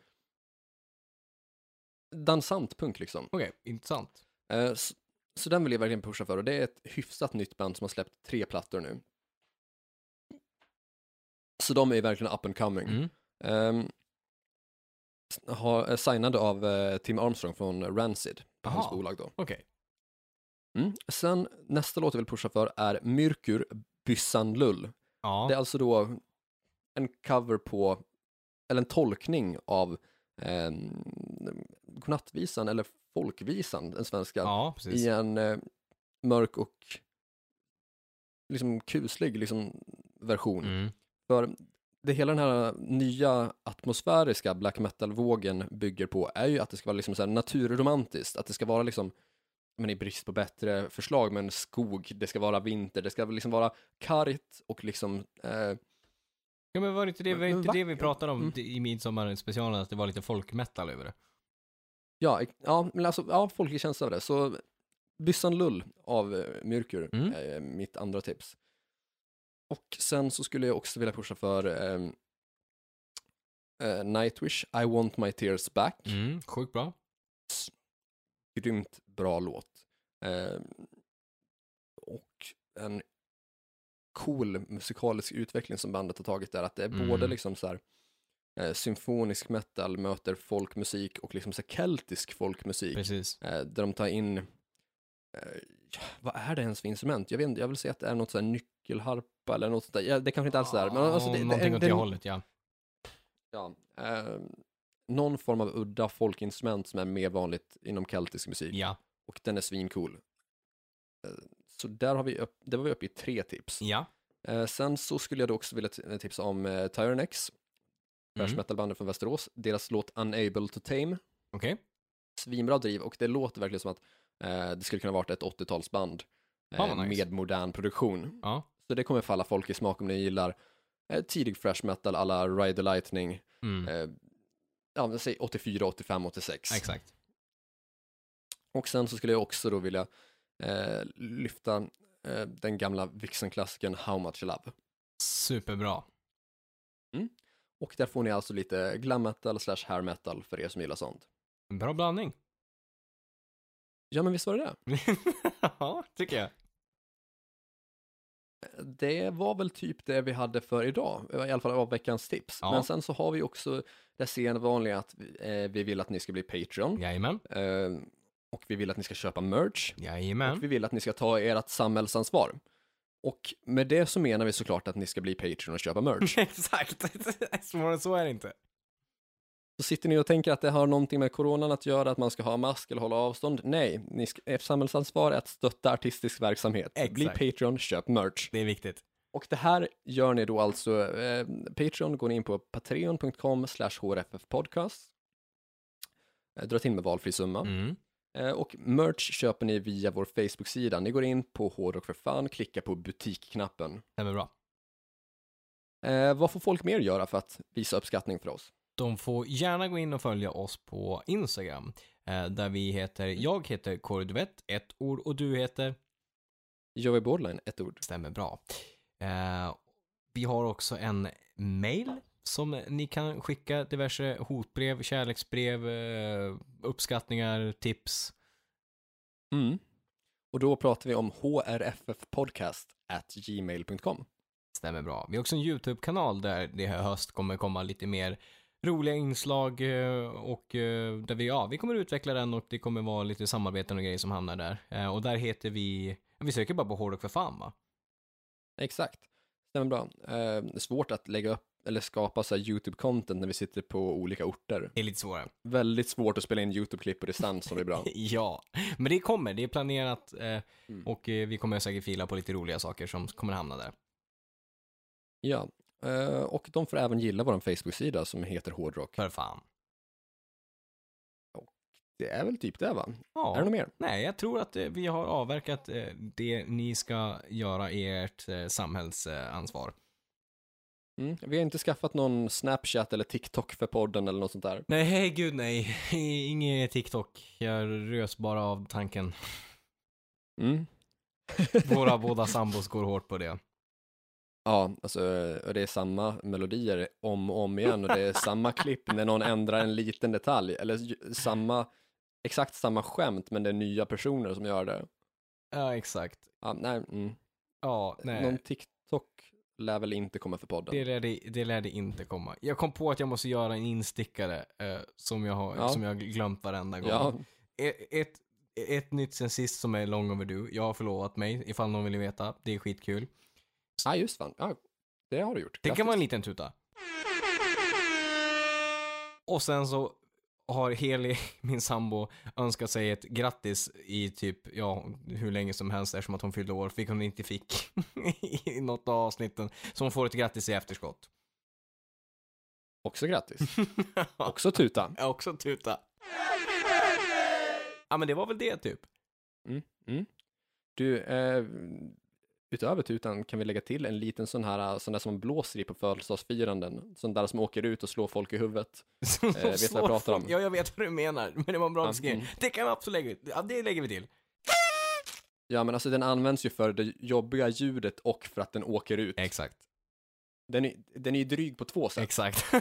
A: dansant punk liksom.
B: Okej, intressant.
A: Eh, Så, så den vill jag verkligen pusha för och det är ett hyfsat nytt band som har släppt tre plattor nu. Så de är ju verkligen up and coming.
B: Mm.
A: Ehm, s- har, eh, signade av eh, Tim Armstrong från Rancid på hans
B: Aha.
A: bolag då.
B: Okej.
A: Mm. Sen nästa låt jag vill pusha för är Myrkur Byssan Lull.
B: Ja.
A: Det är alltså då en cover på, eller en tolkning av eh, godnattvisan eller folkvisan, den svenska,
B: ja, precis.
A: i en eh, mörk och liksom kuslig liksom, version.
B: Mm.
A: För det hela den här nya atmosfäriska black metal-vågen bygger på är ju att det ska vara liksom så här naturromantiskt, att det ska vara liksom men i brist på bättre förslag, men skog, det ska vara vinter, det ska väl liksom vara kargt och liksom, eh,
B: Ja men var det inte det, var
A: Men-
B: det
A: men
B: inte det vi
A: vackert.
B: pratade om
A: Mm.
B: i midsommarspecialen, att det var lite folkmetal över det?
A: ja, ex- ja, men alltså, ja, folk känns av det. Så Byssan Lull av eh, Myrkur
B: Mm.
A: är mitt andra tips. Och sen så skulle jag också vilja pusha för ehm, eh, Nightwish, I want my tears back.
B: Mm, sjukt bra.
A: grymt bra låt. Ehm, och en cool musikalisk utveckling som bandet har tagit där, att det är
B: Mm.
A: både liksom så här eh, symfonisk metal möter folkmusik och liksom så här keltisk folkmusik
B: Precis.
A: eh, där de tar in, eh, ja, vad är det ens för instrument? Jag vet inte, jag vill säga att det är något så här nyckelharpa eller något sånt där, ja, det kanske inte alls är, men alltså det, det,
B: Någonting
A: det,
B: åt det
A: det,
B: hållet ja.
A: ja, ehm, någon form av udda folkinstrument som är mer vanligt inom keltisk musik
B: Ja.
A: och den är svincool. Eh, Så där har vi upp, där var vi uppe i tre tips.
B: Ja.
A: Eh, Sen så skulle jag då också vilja t- tipsa om eh, Tyrannex, X, thrash
B: Mm.
A: metalbandet från Västerås, deras låt Unable to Tame.
B: Okej.
A: Svinbra driv och det låter verkligen som att eh, det skulle kunna varit ett 80-talsband
B: Fan, vad nice.
A: med modern produktion.
B: Ja.
A: Så det kommer falla folk i smak om ni gillar eh, tidig thrash metal alla Ride the Lightning,
B: Mm.
A: eh, ja, säg 84, 85, 86.
B: Exakt.
A: Och sen så skulle jag också då vilja eh, lyfta eh, den gamla Vixen-klassikern How Much Love.
B: Superbra.
A: Och där får ni alltså lite glam metal slash hair metal för er som gillar sånt.
B: En Bra blandning.
A: Ja, men visst var det det?
B: ja, tycker jag.
A: Det var väl typ det vi hade för idag, i alla fall av veckans tips.
B: Ja.
A: Men sen så har vi också det sedvanliga att eh, vi vill att ni ska bli Patreon
B: Jajamän.
A: eh, och vi vill att ni ska köpa merch och
B: Jajamän.
A: vi vill att ni ska ta ert samhällsansvar. Och med det så menar vi såklart att ni ska bli Patreon och köpa merch.
B: Exakt. Svårare än så är det inte.
A: Så sitter ni och tänker att det har någonting med coronan att göra, att man ska ha mask eller hålla avstånd. Nej, ni ska, eh, samhällsansvar är att stötta artistisk verksamhet. Bli
B: Exakt.
A: Patreon, köp merch.
B: Det är viktigt.
A: Och det här gör ni då alltså, eh, Patreon går ni in på patreon.com slash hrffpodcast. Eh, dra till med valfri summa.
B: Mm.
A: Eh, och merch köper ni via vår Facebook-sida. Ni går in på hårdrock för fan, klickar på butikknappen.
B: Stämmer bra.
A: Eh, vad får folk mer göra för att visa uppskattning för oss?
B: De får gärna gå in och följa oss på Instagram. eh, Där vi heter, jag heter Kåre Duvett, ett ord, och du heter
A: Joey Borderline, ett ord.
B: Stämmer bra. Eh, vi har också en mail som ni kan skicka diverse hotbrev, kärleksbrev, eh, uppskattningar, tips.
A: Mm. Och då pratar vi om hrffpodcast.gmail.com.
B: Stämmer bra. Vi har också en YouTube-kanal där det här höst kommer komma lite mer roliga inslag eh, och eh, där vi, ja, vi kommer utveckla den och det kommer vara lite samarbeten och grejer som hamnar där. Eh, Och där heter vi, vi söker bara på Hårdrock för fan va?
A: Exakt. Stämmer bra. Eh, det är svårt att lägga upp eller skapa så här YouTube-content när vi sitter på olika orter.
B: Det är lite svårare.
A: Väldigt svårt att spela in YouTube-klipp på distans som är bra.
B: Ja, men det kommer, det är planerat eh,
A: Mm.
B: och eh, vi kommer säkert fila på lite roliga saker som kommer hamna där.
A: ja. Eh, och de får även gilla vår Facebook-sida som heter Hårdrock.
B: För fan.
A: Det är väl typ det va?
B: Ja.
A: Är det något mer?
B: Nej, jag tror att eh, vi har avverkat eh, det ni ska göra i ert eh, samhällsansvar.
A: Mm. Vi har inte skaffat någon Snapchat eller TikTok för podden eller något sånt där.
B: Nej, gud nej. Inget TikTok. Jag rös bara av tanken.
A: Mm.
B: Våra båda sambos går hårt på det.
A: Ja, alltså, och det är samma melodier om och om igen och det är samma klipp när någon ändrar en liten detalj eller ju- samma, exakt samma skämt men det är nya personer som gör det.
B: Ja, exakt.
A: Ja, nej, mm.
B: Ja, nej.
A: Någon TikTok lär väl inte komma för podden.
B: Det lärde, det lärde inte komma. Jag kom på att jag måste göra en instickare eh, som, jag har,
A: Ja.
B: som jag har glömt varenda gång.
A: ja,
B: E- ett, ett nytt sen sist som är long overdue. Jag har förlovat mig ifall någon vill veta. Det är skitkul.
A: ja, just fan. Ja, det har du gjort.
B: Det kan
A: Grattis.
B: vara en liten tuta. Och sen så har Heli, min sambo, önskat sig ett grattis i typ, ja, hur länge som helst eftersom att hon fyllde år, fick hon inte fick i något av avsnitten. Så hon får ett grattis i efterskott.
A: Också grattis. Också tuta.
B: Också tuta. Ja men det var väl det typ.
A: Mm, mm. Du, eh, utöver tutan kan vi lägga till en liten sån här, sån där som man blåser i på födelsedagsfiranden. Sån där som åker ut och slår folk i huvudet.
B: Som
A: Eh, vet vad jag
B: slår
A: pratar om.
B: folk. Ja, jag vet vad du menar. Men det var en bra
A: Ja,
B: beskrivning.
A: mm.
B: Det kan vi absolut lägga ja, Det lägger vi till.
A: Ja, men alltså den används ju för det jobbiga ljudet och för att den åker ut.
B: Exakt.
A: Den är, den är ju dryg på två sätt.
B: Exakt. ja,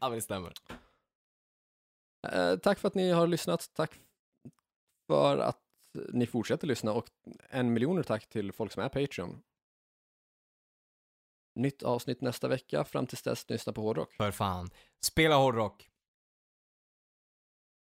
B: men det stämmer.
A: Eh, tack för att ni har lyssnat. Tack för att ni fortsätter lyssna och en miljoner tack till folk som är Patreon. Nytt avsnitt nästa vecka. Fram tills dess, lyssna på hårdrock.
B: För fan. Spela hårdrock.